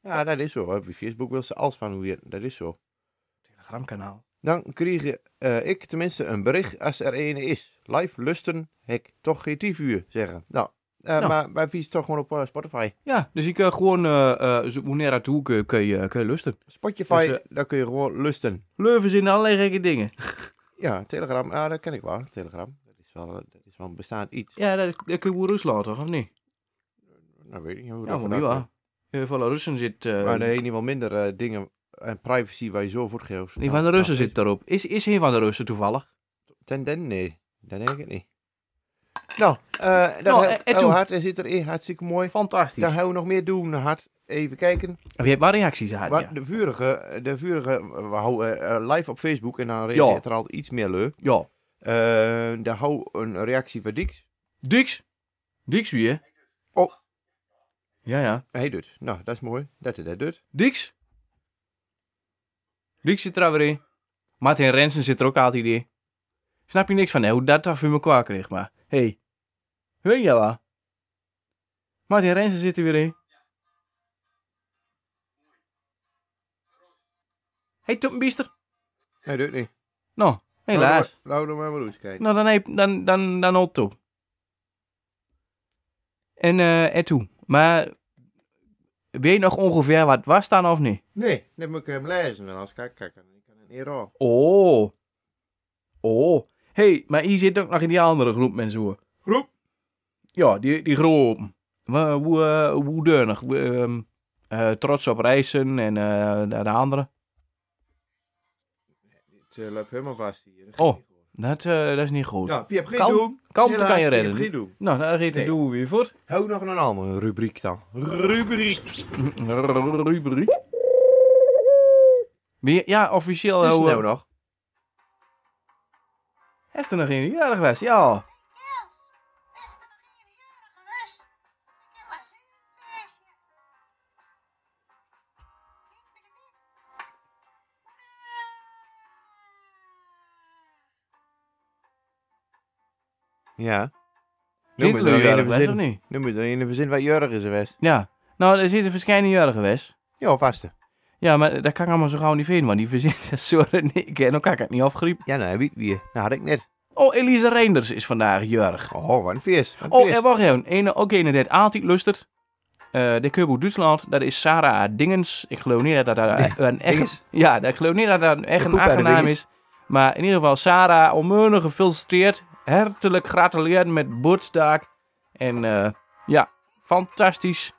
Speaker 4: Ja, dat is zo. Op Facebook wil ze alles van wie weet. Dat is zo.
Speaker 3: Telegramkanaal.
Speaker 4: Dan krijg je, eh, ik tenminste een bericht als er ene is. Live lusten, hek, toch geen uur zeggen. Nou, eh,
Speaker 3: Nou.
Speaker 4: maar wij vies toch gewoon op eh, Spotify.
Speaker 3: Ja, dus ik kan gewoon... eh eh zo- wanneer dat doe, kun, kun, je, kun je lusten.
Speaker 4: Spotify,
Speaker 3: Dus, eh,
Speaker 4: daar kun je gewoon lusten.
Speaker 3: Leuven in allerlei gekke dingen.
Speaker 4: Ja, Telegram, ah, dat ken ik wel. Telegram, dat is wel, dat is wel een bestaand iets.
Speaker 3: Ja, dat, dat kun je wel Rusland, toch? Of niet?
Speaker 4: Nou, weet ik niet hoe
Speaker 3: Ja,
Speaker 4: dat
Speaker 3: van
Speaker 4: vandaan
Speaker 3: wie
Speaker 4: komt.
Speaker 3: wel. Eh, Van de Russen zit... eh,
Speaker 4: Maar nee, in ieder geval minder eh, dingen en privacy waar je zo voor geeft.
Speaker 3: Die van de Russen zit daarop. Is, is hij van de Russen toevallig?
Speaker 4: Ten den, nee. Dat denk ik niet. Nou, eh
Speaker 3: Nou,
Speaker 4: dat nou,
Speaker 3: en- en toen?
Speaker 4: hard, er zit er in, hartstikke mooi.
Speaker 3: Fantastisch.
Speaker 4: Dan gaan we nog meer doen, hard. Even kijken.
Speaker 3: Heb je wat reacties gehad?
Speaker 4: Maar
Speaker 3: Ah, Ja.
Speaker 4: de vurige, de vurige, eh, we houden eh, live op Facebook en dan reageert er al iets meer leuk.
Speaker 3: ja.
Speaker 4: Eh dan hou een reactie van Dix.
Speaker 3: Dix. Dix weer.
Speaker 4: Oh.
Speaker 3: Ja, ja.
Speaker 4: Hij doet. Nou, dat is mooi. Dat hij dat doet.
Speaker 3: Dix. Dix zit er alweer in. Martin Rensen zit er ook altijd in. Snap je niks van, hè, hoe dat toch voor me kwaad kreeg, maar... Hé. Hey. Weet je dat wel? Martin Rensen zit er weer in. Hey, Toetenbiester.
Speaker 4: Hij doet niet.
Speaker 3: Nou, helaas.
Speaker 4: Nou, dan maar maar eens kijken.
Speaker 3: Nou, dan heb dan, dan, dan al toe. En, eh, en toe. Maar... Weet je nog ongeveer wat was dan of niet?
Speaker 4: Nee, dan moet ik hem lezen. En als ik kijk, kijk, dan kan ik niet raar.
Speaker 3: Oh. Oh. hey, maar hier zit ook nog in die andere groep mensen hoor.
Speaker 4: Groep?
Speaker 3: Ja, die, die groep. Wa- Hoe, eh, hoe deunig. Hoe, ehm, eh, trots op reizen en eh, de, de andere.
Speaker 4: Het eh, loopt helemaal vast hier. Dat
Speaker 3: Oh.
Speaker 4: gaat niet goed.
Speaker 3: Dat, eh, dat is niet goed.
Speaker 4: Ja, je hebt geen
Speaker 3: Kalm-
Speaker 4: doen.
Speaker 3: Kalmte
Speaker 4: Helaas,
Speaker 3: kan je
Speaker 4: Piep,
Speaker 3: redden.
Speaker 4: Geen doen.
Speaker 3: Nou, daar reed
Speaker 4: Nee.
Speaker 3: doen we weer voor.
Speaker 4: Hou nog een andere rubriek dan. Rubriek.
Speaker 3: Rubriek. Weer- Ja, officieel.
Speaker 4: Is er
Speaker 3: hoe, eh,
Speaker 4: nou nog?
Speaker 3: Heeft er nog een die jarig was? Ja.
Speaker 4: Ja.
Speaker 3: Zit
Speaker 4: maar
Speaker 3: er een
Speaker 4: dan
Speaker 3: jarig
Speaker 4: in
Speaker 3: was, of
Speaker 4: verzin.
Speaker 3: niet?
Speaker 4: Noem maar dan in de verzin waar Jurgen is geweest.
Speaker 3: Ja. Nou, er zitten verschillende jaren geweest.
Speaker 4: Ja, vaste.
Speaker 3: Ja, maar dat kan ik allemaal zo gauw niet vinden, want die verzint zo en ik. En dan kan ik het niet afgriepen.
Speaker 4: Ja, nou, wie, wie? Nou, had ik net.
Speaker 3: Oh, Elise Reinders is vandaag jarig.
Speaker 4: Oh, wat een feest. Wat een
Speaker 3: Oh,
Speaker 4: feest.
Speaker 3: en wacht even. Ene, ook een dat altijd lustert. Eh de Keurboek Duitsland, dat is Sarah Dingens. Ik geloof niet dat dat een- een echt...
Speaker 4: Dinges?
Speaker 3: Ja, dat- ik geloof niet dat dat een echt
Speaker 4: poep
Speaker 3: een
Speaker 4: uit de
Speaker 3: achternaam
Speaker 4: dinges.
Speaker 3: is. Maar in ieder geval, Sarah, onmeunig gefeliciteerd. Hartelijk gratuleerd met boertstaak. En eh, ja, fantastisch.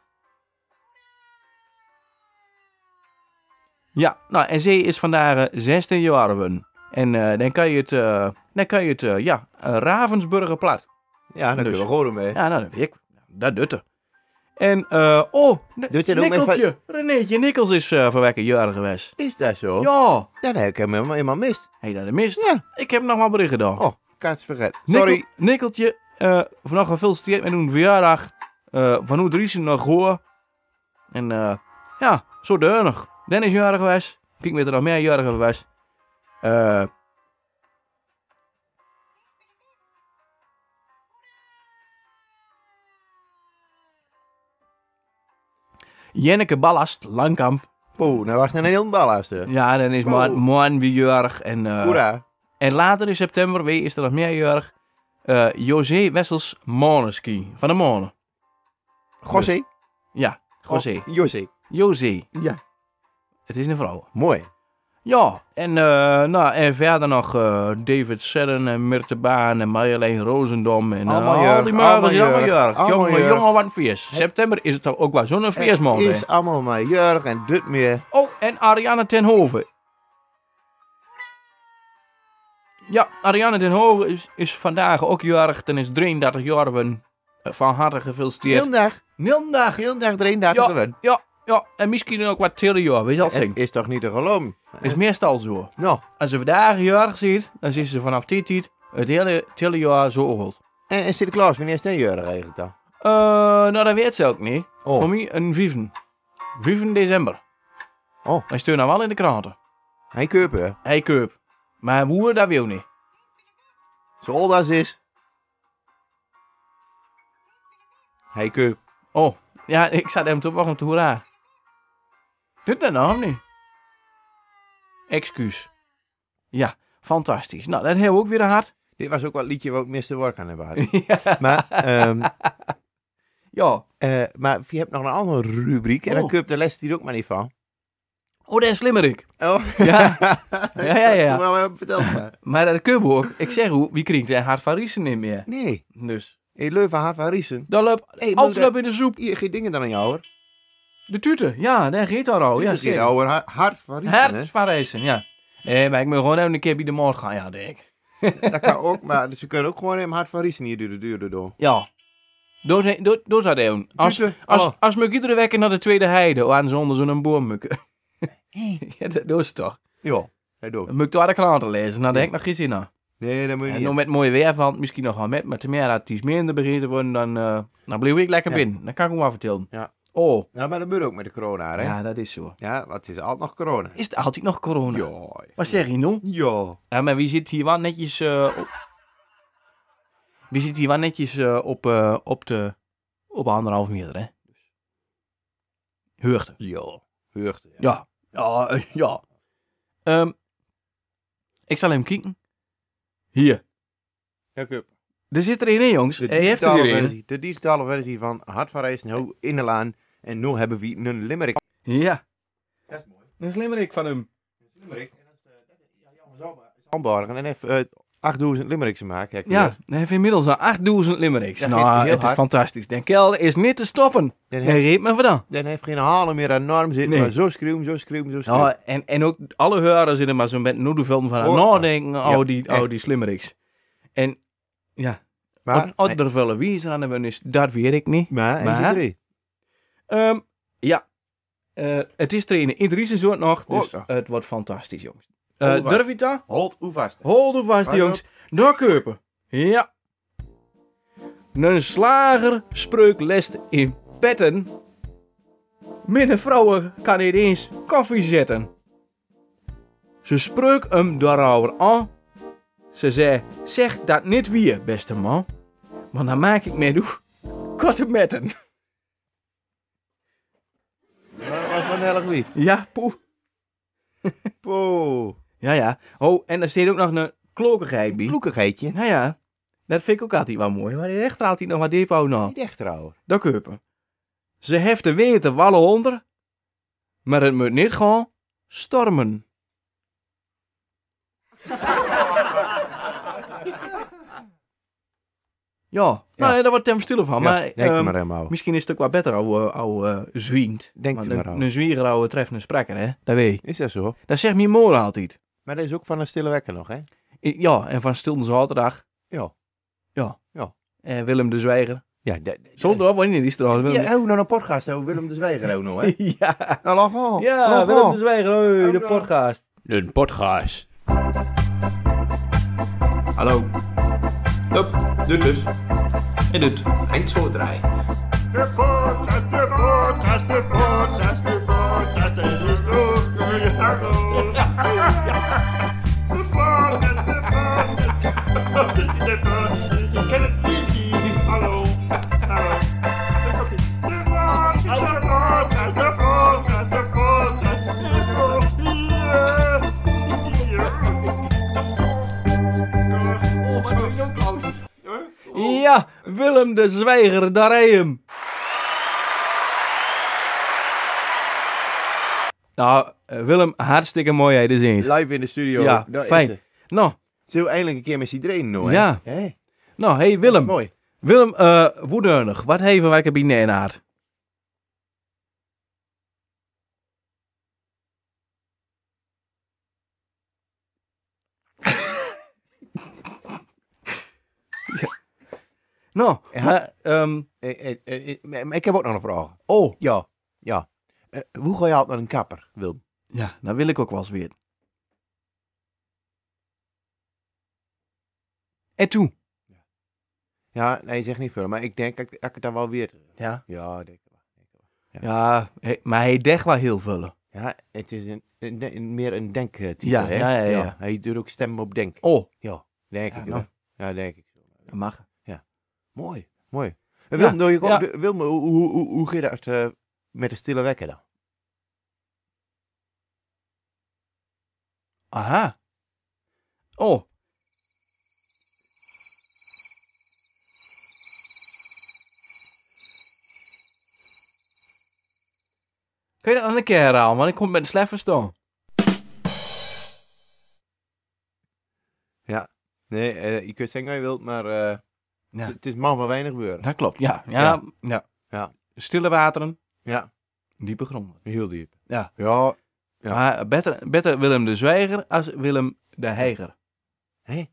Speaker 3: Ja, nou, en zij is vandaag eh, 16 jaar. geworden. En eh, dan kan je het, eh, dan kan je het eh, ja, eh, Ravensburger plat.
Speaker 4: Ja, daar
Speaker 3: dus.
Speaker 4: kunnen we gewoon mee.
Speaker 3: Ja, nou, dat weet ik. Dat doet er. En, eh, oh, N-
Speaker 4: Doet hij er ook mee
Speaker 3: Nikkeltje. Renéetje Nikkels is eh van welke jaren geweest.
Speaker 4: Is dat zo?
Speaker 3: Ja,
Speaker 4: Ja, dat heb ik hem helemaal, helemaal mist.
Speaker 3: hé, dat mist.
Speaker 4: Oh. Ja.
Speaker 3: Ik heb nog maar bericht gedaan.
Speaker 4: Oh, kaats vergeten. Sorry.
Speaker 3: Nikkel- Nikkeltje, eh vannacht gefeliciteerd met hun verjaardag. Eh, van hoe Driesen nog hoor. En, eh, ja, zo deunig. Dan is jarig geweest. Kijk, met er nog meer jarig geweest. Eh, Jenneke Ballast, Langkamp.
Speaker 4: Poeh, nou was het een heel ballast. hè.
Speaker 3: Ja, dan is
Speaker 4: Wow.
Speaker 3: man, man weer jarig. En, eh,
Speaker 4: Hoera.
Speaker 3: en later in september, wie is er nog meerjarig? Eh José Wessels Moneski van de Monen.
Speaker 4: José.
Speaker 3: Ja, José.
Speaker 4: Oh, José.
Speaker 3: José,
Speaker 4: Ja.
Speaker 3: het is een vrouw.
Speaker 4: Mooi.
Speaker 3: Ja, en, eh, nou, en verder nog eh, David Serren en Myrthe Baan en Marjolein Roosendom. En eh,
Speaker 4: Allemaal
Speaker 3: al
Speaker 4: jarig,
Speaker 3: die mannen
Speaker 4: allemaal
Speaker 3: zijn allemaal
Speaker 4: jarig,
Speaker 3: jarig.
Speaker 4: allemaal
Speaker 3: Jongen,
Speaker 4: jarig.
Speaker 3: jongen, wat een feest. September is het toch ook wel zo'n feest, man.
Speaker 4: Het is allemaal maar Jurg en dit meer.
Speaker 3: Oh, en Ariane ten Hove. Ja, Ariane ten Hove is, is vandaag ook jarig. Dan is 33 jaar. geworden. Eh, Van harte
Speaker 4: Heel
Speaker 3: gefeliciteerd.
Speaker 4: dag.
Speaker 3: Nildag.
Speaker 4: Heel dag erin daar
Speaker 3: Ja.
Speaker 4: gewend.
Speaker 3: Ja, ja, en misschien ook wat trillen jaar. Weet je dat
Speaker 4: Het
Speaker 3: ding?
Speaker 4: is toch niet te geloven?
Speaker 3: Is meestal zo.
Speaker 4: Nou,
Speaker 3: Als ze vandaag jarig ziet, dan zien ze vanaf dit tijd het hele tille jaar zo oud.
Speaker 4: en, en Sinterklaas, wanneer is de Jurg eigenlijk dan?
Speaker 3: Eh, nou, dat weet ze ook niet.
Speaker 4: Oh.
Speaker 3: Voor mij een 5. 5 december.
Speaker 4: Oh.
Speaker 3: Hij stuurt nou wel in de kranten.
Speaker 4: Hij Keupen.
Speaker 3: Hij koopt. Maar hoe, dat wil niet.
Speaker 4: Zoals dat is. Hij Keup.
Speaker 3: Oh, ja, ik zat hem te wachten op de hoera. Doet dat nou of niet? Excuus. Ja, fantastisch. Nou, dat hebben we ook weer gehad.
Speaker 4: Dit was ook wat liedje wat Mr. Work aan hebben gehad. Maar, ehm,
Speaker 3: Ja.
Speaker 4: eh, maar je hebt nog een andere rubriek. En dan
Speaker 3: Oh.
Speaker 4: Keup de les hier ook maar niet van.
Speaker 3: Oh, dat is slimmerik.
Speaker 4: Oh.
Speaker 3: Ja. Ja, ja, ja.
Speaker 4: Maar, vertel maar.
Speaker 3: Maar dat kunnen we ook. Ik zeg hoe, wie kringt zijn hart van Riesen niet meer.
Speaker 4: Nee.
Speaker 3: Dus,
Speaker 4: Hey, Leuven had van Riesen.
Speaker 3: dan loopt
Speaker 4: Hey,
Speaker 3: alles
Speaker 4: moeder.
Speaker 3: loopt in de soep.
Speaker 4: Hier, geen dingen dan aan jou hoor.
Speaker 3: De tute, ja, daar geeft daar al. Ja,
Speaker 4: Zit hier
Speaker 3: zeker.
Speaker 4: ouwe ha- hart van Riesen. hè?
Speaker 3: Hart van Riesen, ja. Nee, maar ik moet gewoon even een keer bij de moord gaan, ja, denk ik.
Speaker 4: Dat kan ook, maar ze kunnen ook gewoon hem hart van Riesen hier duur duur door.
Speaker 3: Ja. Door zijn- door- door zou dat doen. Als,
Speaker 4: Tute,
Speaker 3: als,
Speaker 4: oh.
Speaker 3: als moet ik iedere week naar de Tweede Heide, aan zonder zo'n boom mukken. Ja, dat doen ze toch.
Speaker 4: Ja, hij doet.
Speaker 3: Dan moet ik daar de kranten lezen, nou, daar heb ik nog geen zin aan.
Speaker 4: Nee, dat moet je
Speaker 3: En
Speaker 4: niet.
Speaker 3: nog met mooi weer van, misschien nog wel met, maar tenminste dat het iets minder begint te worden, dan, eh dan blijf ik lekker
Speaker 4: Ja.
Speaker 3: binnen. Dan kan ik hem wel vertellen.
Speaker 4: Ja.
Speaker 3: Oh,
Speaker 4: Ja, Nou, maar dat moet ook met de corona, hè? Ja,
Speaker 3: ja, dat is zo.
Speaker 4: want het is altijd nog corona.
Speaker 3: Is het altijd nog corona?
Speaker 4: Ja.
Speaker 3: Wat zeg je nou?
Speaker 4: Ja.
Speaker 3: Ja, maar wie zit hier wel netjes eh, op... Wie zit hier wel netjes eh, op, eh, op de... Op anderhalf meter, hè? Heugde.
Speaker 4: Ja. Heugde.
Speaker 3: Ja.
Speaker 4: Ja.
Speaker 3: Ja, eh, ja. Ehm, ik zal hem kijken. Hier.
Speaker 4: Ja, Kuip.
Speaker 3: Er zit er een in, jongens.
Speaker 4: De
Speaker 3: Hij heeft er
Speaker 4: digitale,
Speaker 3: weer een.
Speaker 4: versie, de digitale versie van Hart van Riesen, hoe in de laan. En nu hebben we een limerick.
Speaker 3: Ja.
Speaker 4: Dat is mooi.
Speaker 3: Een slimmerik van hem.
Speaker 4: Limerick. En dat is, ja, jammer zo, maar... Ambargen en even eh, 8000 limericks maakt. Heb je
Speaker 3: Ja,
Speaker 4: dat?
Speaker 3: hij heeft inmiddels al 8000 limericks.
Speaker 4: Ja,
Speaker 3: nou,
Speaker 4: heel
Speaker 3: het is
Speaker 4: hard.
Speaker 3: fantastisch. Den Kelder is niet te stoppen.
Speaker 4: Dan
Speaker 3: Hij
Speaker 4: heeft,
Speaker 3: reed me vandaan.
Speaker 4: dan heeft geen halen meer aan de arm zitten.
Speaker 3: Nee.
Speaker 4: Maar zo schreeuwen, zo schreeuwen, zo schreeuwen.
Speaker 3: Nou, en, en ook alle heuren zitten maar zo'n beetje nu van aan het
Speaker 4: Oh,
Speaker 3: nadenken.
Speaker 4: ja,
Speaker 3: Oh, die, oh,
Speaker 4: echt.
Speaker 3: die slimmeriks. En ja,
Speaker 4: maar,
Speaker 3: wat
Speaker 4: hij-
Speaker 3: er wel wie is aan de bun is, dat weet ik niet.
Speaker 4: maar, hij
Speaker 3: maar-
Speaker 4: zit erin.
Speaker 3: Ehm, ja, Eh, het is trainen in drie seizoen nog, dus
Speaker 4: Oh.
Speaker 3: het wordt fantastisch, jongens. Eh,
Speaker 4: Hold vast.
Speaker 3: durf je het aan?
Speaker 4: Hold, hoe vast.
Speaker 3: Hold vast,
Speaker 4: Hard
Speaker 3: jongens. Naar Keupen. Ja. Een slager spreuk lest in petten. Minder vrouwen kan niet eens koffie zetten. Ze spreuk hem daarover aan. Ze zei, zeg dat niet weer, beste man. Want dan maak ik mij doe korte metten.
Speaker 4: Dat was van heel lief.
Speaker 3: Ja, poeh.
Speaker 4: Poeh.
Speaker 3: Ja, ja. Oh, en er staat ook nog een klokigheid bij.
Speaker 4: Kloekigheidje.
Speaker 3: Nou ja, dat vind ik ook altijd wel mooi. Maar die rechter haalt hij nog wat dieper nou.
Speaker 4: Niet echt trouwen.
Speaker 3: Dat keupen. Ze heften weer de wallen onder. Maar het moet niet gewoon stormen. ja, nou ja, daar wordt hem stil van. maar,
Speaker 4: ja, denk
Speaker 3: ehm,
Speaker 4: er maar helemaal.
Speaker 3: misschien is het ook wat beter ouwe, ouwe eh, zwiend.
Speaker 4: Denk
Speaker 3: Want
Speaker 4: er maar
Speaker 3: een-
Speaker 4: aan.
Speaker 3: Een zwieger ouwe treft een spreker, hè? Dat weet je.
Speaker 4: Is dat zo?
Speaker 3: Dat zegt mijn moeder altijd.
Speaker 4: Maar dat is ook van een stille wekker nog, hè?
Speaker 3: I- Ja, en van stil zaterdag.
Speaker 4: Ja.
Speaker 3: Ja.
Speaker 4: Ja.
Speaker 3: En Willem de Zwijger.
Speaker 4: Ja, dat- dat-
Speaker 3: Zonder op, wanneer is er al? Willem de-
Speaker 4: Ja, oh, nou een podcast, oh, Willem de Zwijger ook nog, hè?
Speaker 3: ja.
Speaker 4: Nou, lach al.
Speaker 3: Ja,
Speaker 4: lach
Speaker 3: Willem
Speaker 4: al.
Speaker 3: de Zwijger, hoi, de podcast.
Speaker 7: Een podcast.
Speaker 5: Hallo. Hup, dit dus.
Speaker 3: En het.
Speaker 5: Eind zo draaien.
Speaker 6: De podcast, de podcast, de podcast, de podcast, het is leuk. Ja, hallo. De podcast, de podcast, de podcast, ik ken het niet. Hallo, hallo. De podcast, de podcast, de podcast, de podcast, het is leuk. Ja, ja.
Speaker 5: Oh, maar dat is ook oud.
Speaker 3: Ja, Willem de Zwijger, daar hij hem. Nou, eh, Willem, hartstikke mooi, hij is eens.
Speaker 4: Live in de studio.
Speaker 3: Ja,
Speaker 4: Daar is
Speaker 3: fijn.
Speaker 4: ze.
Speaker 3: Nou,
Speaker 4: Zullen we eindelijk een keer met z'n drieën doen, hè?
Speaker 3: Ja.
Speaker 4: Hè?
Speaker 3: nou, hey
Speaker 4: Dat is
Speaker 3: Willem.
Speaker 4: Mooi.
Speaker 3: Willem, eh woedeunig, wat hebben wij binnen en aard? Nou,
Speaker 4: Ja.
Speaker 3: maar, ehm,
Speaker 4: Eh, eh, eh, eh, maar- maar ik heb ook nog een vraag.
Speaker 3: oh,
Speaker 4: Ja, ja. Eh, hoe ga je altijd naar een kapper, Wil?
Speaker 3: ja, dat wil ik ook wel eens weer. En toe.
Speaker 4: Ja, nee, zeg niet veel, maar ik denk dat ik- dat ik het dan wel weer...
Speaker 3: Ja.
Speaker 4: Ja, denk ik wel.
Speaker 3: Ja, he- maar hij deg wel heel veel.
Speaker 4: Ja, het is een, een- een- meer een denktype,
Speaker 3: Ja,
Speaker 4: hè?
Speaker 3: ja, ja, ja.
Speaker 4: Hij doet ook stemmen op denken.
Speaker 3: Oh,
Speaker 4: Denk
Speaker 3: Ja,
Speaker 4: ik.
Speaker 3: nou.
Speaker 4: wel. Ja, denk ik.
Speaker 3: dat mag.
Speaker 4: Mooi, mooi. En Wilm, doe je,
Speaker 3: ja.
Speaker 4: de- Wilm, hoe, hoe, hoe, hoe ging dat eh, met de stille wekker dan?
Speaker 3: Aha. Oh. Kun je dat nog een keer herhalen, man? Ik kom met een slecht verstaan.
Speaker 4: Nee, eh, je kunt zeggen wat je wilt, maar eh,
Speaker 3: Ja.
Speaker 4: het- het is man van weinig beuren.
Speaker 3: Dat klopt, ja. Ja, ja.
Speaker 4: Ja.
Speaker 3: ja.
Speaker 4: Ja.
Speaker 3: Stille wateren,
Speaker 4: Ja,
Speaker 3: diepe gronden.
Speaker 4: heel diep.
Speaker 3: Ja.
Speaker 4: Ja, Ja.
Speaker 3: Maar beter, beter Willem de Zwijger als Willem de Heiger.
Speaker 4: Hé?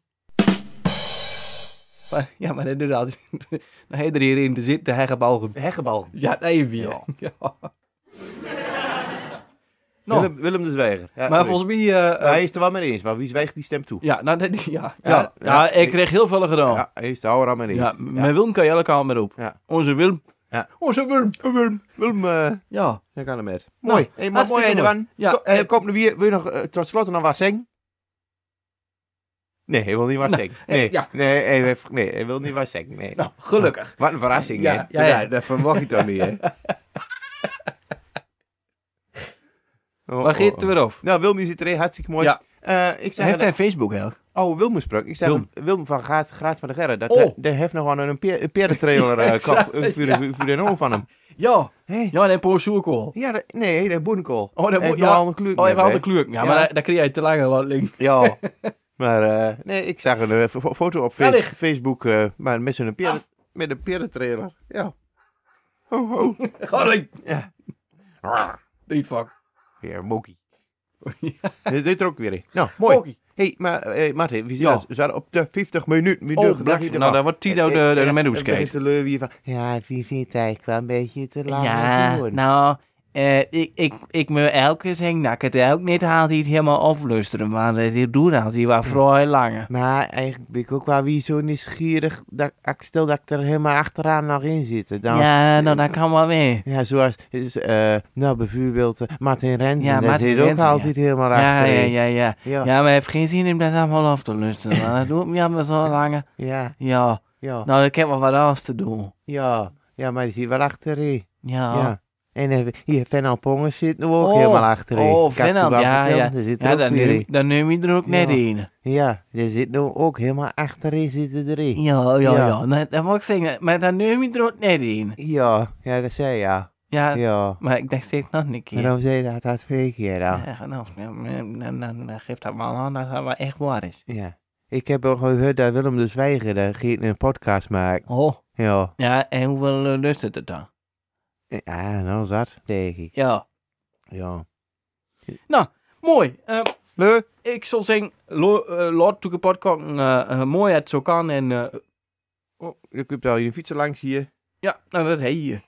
Speaker 3: Maar- Ja, maar dat doet altijd. Dan hij er hierin te zitten, hij gaat balgen.
Speaker 4: heggebal.
Speaker 3: Ja, nee, weer. Ja. Nou,
Speaker 4: Willem, Willem de Zwijger.
Speaker 3: maar
Speaker 4: Ja, sorry.
Speaker 3: volgens mij... eh, eh,
Speaker 4: Hij is er wel mee eens, maar wie zwijgt die stemt toe?
Speaker 3: Ja, nou, dat- ja, ja, ja,
Speaker 4: Ja, ja.
Speaker 3: ik kreeg heel veel gedaan. Ja,
Speaker 4: Ja, hij is er al aan mee eens.
Speaker 3: m- Met Willem kan je elke kant mee op.
Speaker 4: Ja.
Speaker 3: Onze Willem.
Speaker 4: Ja.
Speaker 3: Onze Willem. Willem.
Speaker 4: Willem, eh,
Speaker 3: Ja.
Speaker 4: daar kan hem met.
Speaker 3: Nou,
Speaker 4: Mooi, hey, maar mooi
Speaker 3: hartstikke mooi.
Speaker 4: Edwan.
Speaker 3: Ja,
Speaker 4: Ko- eh,
Speaker 3: eh,
Speaker 4: Kom nu weer, wil je nog eh, tot slot nog wat zeggen? Nee, hij wil niet wat
Speaker 3: Nou,
Speaker 4: zeggen.
Speaker 3: eh,
Speaker 4: Nee,
Speaker 3: ja.
Speaker 4: nee, hij, heeft- nee, hij wil niet wat zeggen. Nee.
Speaker 3: Nou, gelukkig.
Speaker 4: Wat een verrassing,
Speaker 3: Ja,
Speaker 4: hè?
Speaker 3: ja, ja.
Speaker 4: dat verwacht ik dan niet, hè? Oh,
Speaker 3: Waar
Speaker 4: oh,
Speaker 3: geeft het
Speaker 4: oh.
Speaker 3: weer af?
Speaker 4: Nou, Wilm die zit erin, hartstikke mooi.
Speaker 3: Ja.
Speaker 4: Eh, ik zeg
Speaker 3: Heeft
Speaker 4: dat-
Speaker 3: hij Facebook eigenlijk?
Speaker 4: Oh, Wilm sprak. Ik zeg
Speaker 3: Wilm.
Speaker 4: Wilm, van Graat, Graat van de Gerre. Dat,
Speaker 3: Oh.
Speaker 4: dat, dat heeft nog wel een, peer, een perentrailer eh, kap eh, voor, de- voor de oom van hem.
Speaker 3: Ja.
Speaker 4: Hey.
Speaker 3: Ja, en Paul Soerkool.
Speaker 4: Ja, dat- nee, dat boerenkool.
Speaker 3: Oh, dat
Speaker 4: Hij
Speaker 3: moet
Speaker 4: heeft
Speaker 3: ja.
Speaker 4: nog wel een kleur.
Speaker 3: Oh, hij
Speaker 4: met,
Speaker 3: had
Speaker 4: hè?
Speaker 3: een kleur. Ja, maar
Speaker 4: Ja.
Speaker 3: daar- daar kreeg je te lang aan. Link.
Speaker 4: Ja. Maar eh, nee, ik zag een eh, fo- foto op Fe-
Speaker 3: Wellicht.
Speaker 4: Facebook eh, maar met zo'n peren, met een perentrailer. Ja. Ho, ho.
Speaker 3: Garling!
Speaker 4: Ja.
Speaker 3: Drietpak.
Speaker 4: Weer Moki.
Speaker 3: Ja.
Speaker 4: Dit zit er ook weer in. Nou, mooi.
Speaker 3: Moki.
Speaker 4: hey, maar eh Martin, we
Speaker 3: Ja.
Speaker 4: zijn, we zijn op de 50 minuten. We
Speaker 3: Oh,
Speaker 4: doen-
Speaker 3: blijf-
Speaker 4: doen-
Speaker 3: nou, daar wordt Tino
Speaker 4: Eh,
Speaker 3: de-
Speaker 4: eh,
Speaker 3: de- de
Speaker 4: eh,
Speaker 3: mennoes
Speaker 4: eh, begint
Speaker 3: keet.
Speaker 4: te leuren hier van, Ja, wie vindt eigenlijk wel een beetje te lang doen.
Speaker 3: Ah, nou, eh, ik, ik, ik moet elke zeggen dat ik het ook niet altijd helemaal afluisteren, want eh, ik doe dat hier wel vrij lange.
Speaker 4: Maar eigenlijk ben ik ook wel weer zo nieuwsgierig. Dat, ik stel dat ik er helemaal achteraan nog in zit. Dan, ja.
Speaker 3: Ja, nou, dat kan wel weer.
Speaker 4: zoals, is, eh, nou bijvoorbeeld eh, Martin Rensen.
Speaker 3: Ja,
Speaker 4: Ja,
Speaker 3: Martin
Speaker 4: zit ook
Speaker 3: Rensen, ja.
Speaker 4: altijd helemaal
Speaker 3: Ja, ja,
Speaker 4: achterin.
Speaker 3: ja, ja.
Speaker 4: Ja, ja.
Speaker 3: Ja, maar ik heb geen zin om dat allemaal af te luisteren, want dat doet me allemaal zo lange.
Speaker 4: Ja,
Speaker 3: Ja,
Speaker 4: ja,
Speaker 3: nou, ik heb wel wat anders te doen.
Speaker 4: ja. maar die zit wel achterin.
Speaker 3: Ja.
Speaker 4: Ja. En eh, hier, Fernand Pongens zit nu ook
Speaker 3: Oh,
Speaker 4: helemaal achterin.
Speaker 3: oh,
Speaker 4: Ik had toen
Speaker 3: Fernand,
Speaker 4: wel
Speaker 3: ja,
Speaker 4: verteld,
Speaker 3: ja.
Speaker 4: daar zit er
Speaker 3: Ja,
Speaker 4: ook
Speaker 3: dan
Speaker 4: weer
Speaker 3: neem,
Speaker 4: in.
Speaker 3: dan neem je er ook net
Speaker 4: Ja.
Speaker 3: in.
Speaker 4: Ja, die zit nu ook helemaal achterin zitten erin. Ja.
Speaker 3: Ja, ja,
Speaker 4: Ja.
Speaker 3: ja. Nee, dat moet ik zeggen. Maar dan neem je er ook net in.
Speaker 4: Ja, dat zei je. Ja.
Speaker 3: Ja,
Speaker 4: ja.
Speaker 3: maar ik dacht steeds nog een keer.
Speaker 4: En dan zei je dat dat twee keer dan.
Speaker 3: Ja, nou, dan, dan, dan, dan geeft dat wel aan dat dat wel echt waar is.
Speaker 4: Ja. Ik heb ook gehoord dat Willem de Zwijger eh, ging een podcast maken.
Speaker 3: Oh.
Speaker 4: Ja.
Speaker 3: Ja, en hoeveel eh, luistert het dan?
Speaker 4: Ja, nou zat, denk ik.
Speaker 3: Ja.
Speaker 4: Ja.
Speaker 3: Mooi. Eh,
Speaker 4: Leuk.
Speaker 3: ik zal zeggen, lo, eh, laat toeken podcast eh, eh, mooi uit zo kan. En eh,
Speaker 4: Oh, je kunt al je fietsen langs hier.
Speaker 3: ja, nou dat heet je.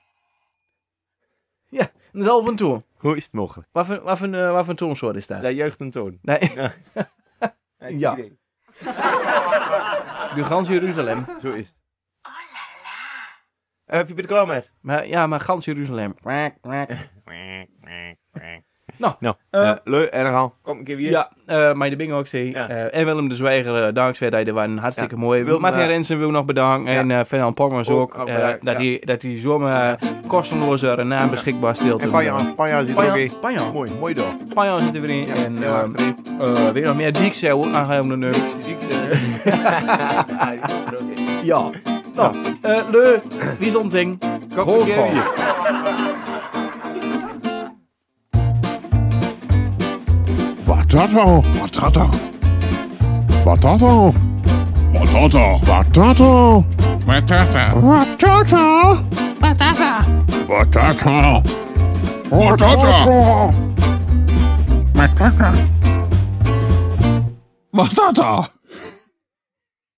Speaker 3: Ja, dat is al van toe.
Speaker 4: Hoe is het mogelijk?
Speaker 3: Wat voor, wat voor, eh, wat voor toonsoort is dat?
Speaker 4: Dat juicht een toon.
Speaker 3: Nee,
Speaker 4: Ja.
Speaker 3: de gans Jeruzalem.
Speaker 4: Zo is het. Eh, Heb je het klaar met?
Speaker 3: Maar ja, maar gans Jeruzalem. Kwak, kwak.
Speaker 4: Nou,
Speaker 3: Eh,
Speaker 4: eh, leuk. En dan gaan we- Kom een keer weer.
Speaker 3: Ja, eh maar de bingo ook zie.
Speaker 4: Ja.
Speaker 3: Eh, en Willem de Zwijger, eh, dankzij dat hij er waren. Hartstikke
Speaker 4: Ja.
Speaker 3: mooi.
Speaker 4: Willem,
Speaker 3: Martin
Speaker 4: eh,
Speaker 3: Rensen wil nog bedanken.
Speaker 4: ja.
Speaker 3: En eh Fernand Pongers ook.
Speaker 4: Ook, ook
Speaker 3: eh,
Speaker 4: bedankt,
Speaker 3: dat,
Speaker 4: ja.
Speaker 3: hij, dat hij zomaar kostenloze naam beschikbaar stelt.
Speaker 4: En Panjan, Panjan zit ook in.
Speaker 3: Panjan. Panjan.
Speaker 4: Mooi, mooi door.
Speaker 3: Panjan zit er weer in.
Speaker 4: Ja,
Speaker 3: en
Speaker 4: heel
Speaker 3: ehm,
Speaker 4: achterin.
Speaker 3: eh, weer nog meer Diekse ook aangehouden nummer.
Speaker 4: Ziek, eh. Ja, die komt er ook in.
Speaker 3: Ja. Nou, eh leu. Wie is ontzing?
Speaker 4: Kom een keer weer.
Speaker 1: Wat dat al? Wat dat al? Wat dat al?
Speaker 2: Potato.
Speaker 1: Wat dat al?
Speaker 2: Patata.
Speaker 1: Wat dat al? Wat dat al? Wat dat al?
Speaker 2: Patata.
Speaker 1: Wat dat al?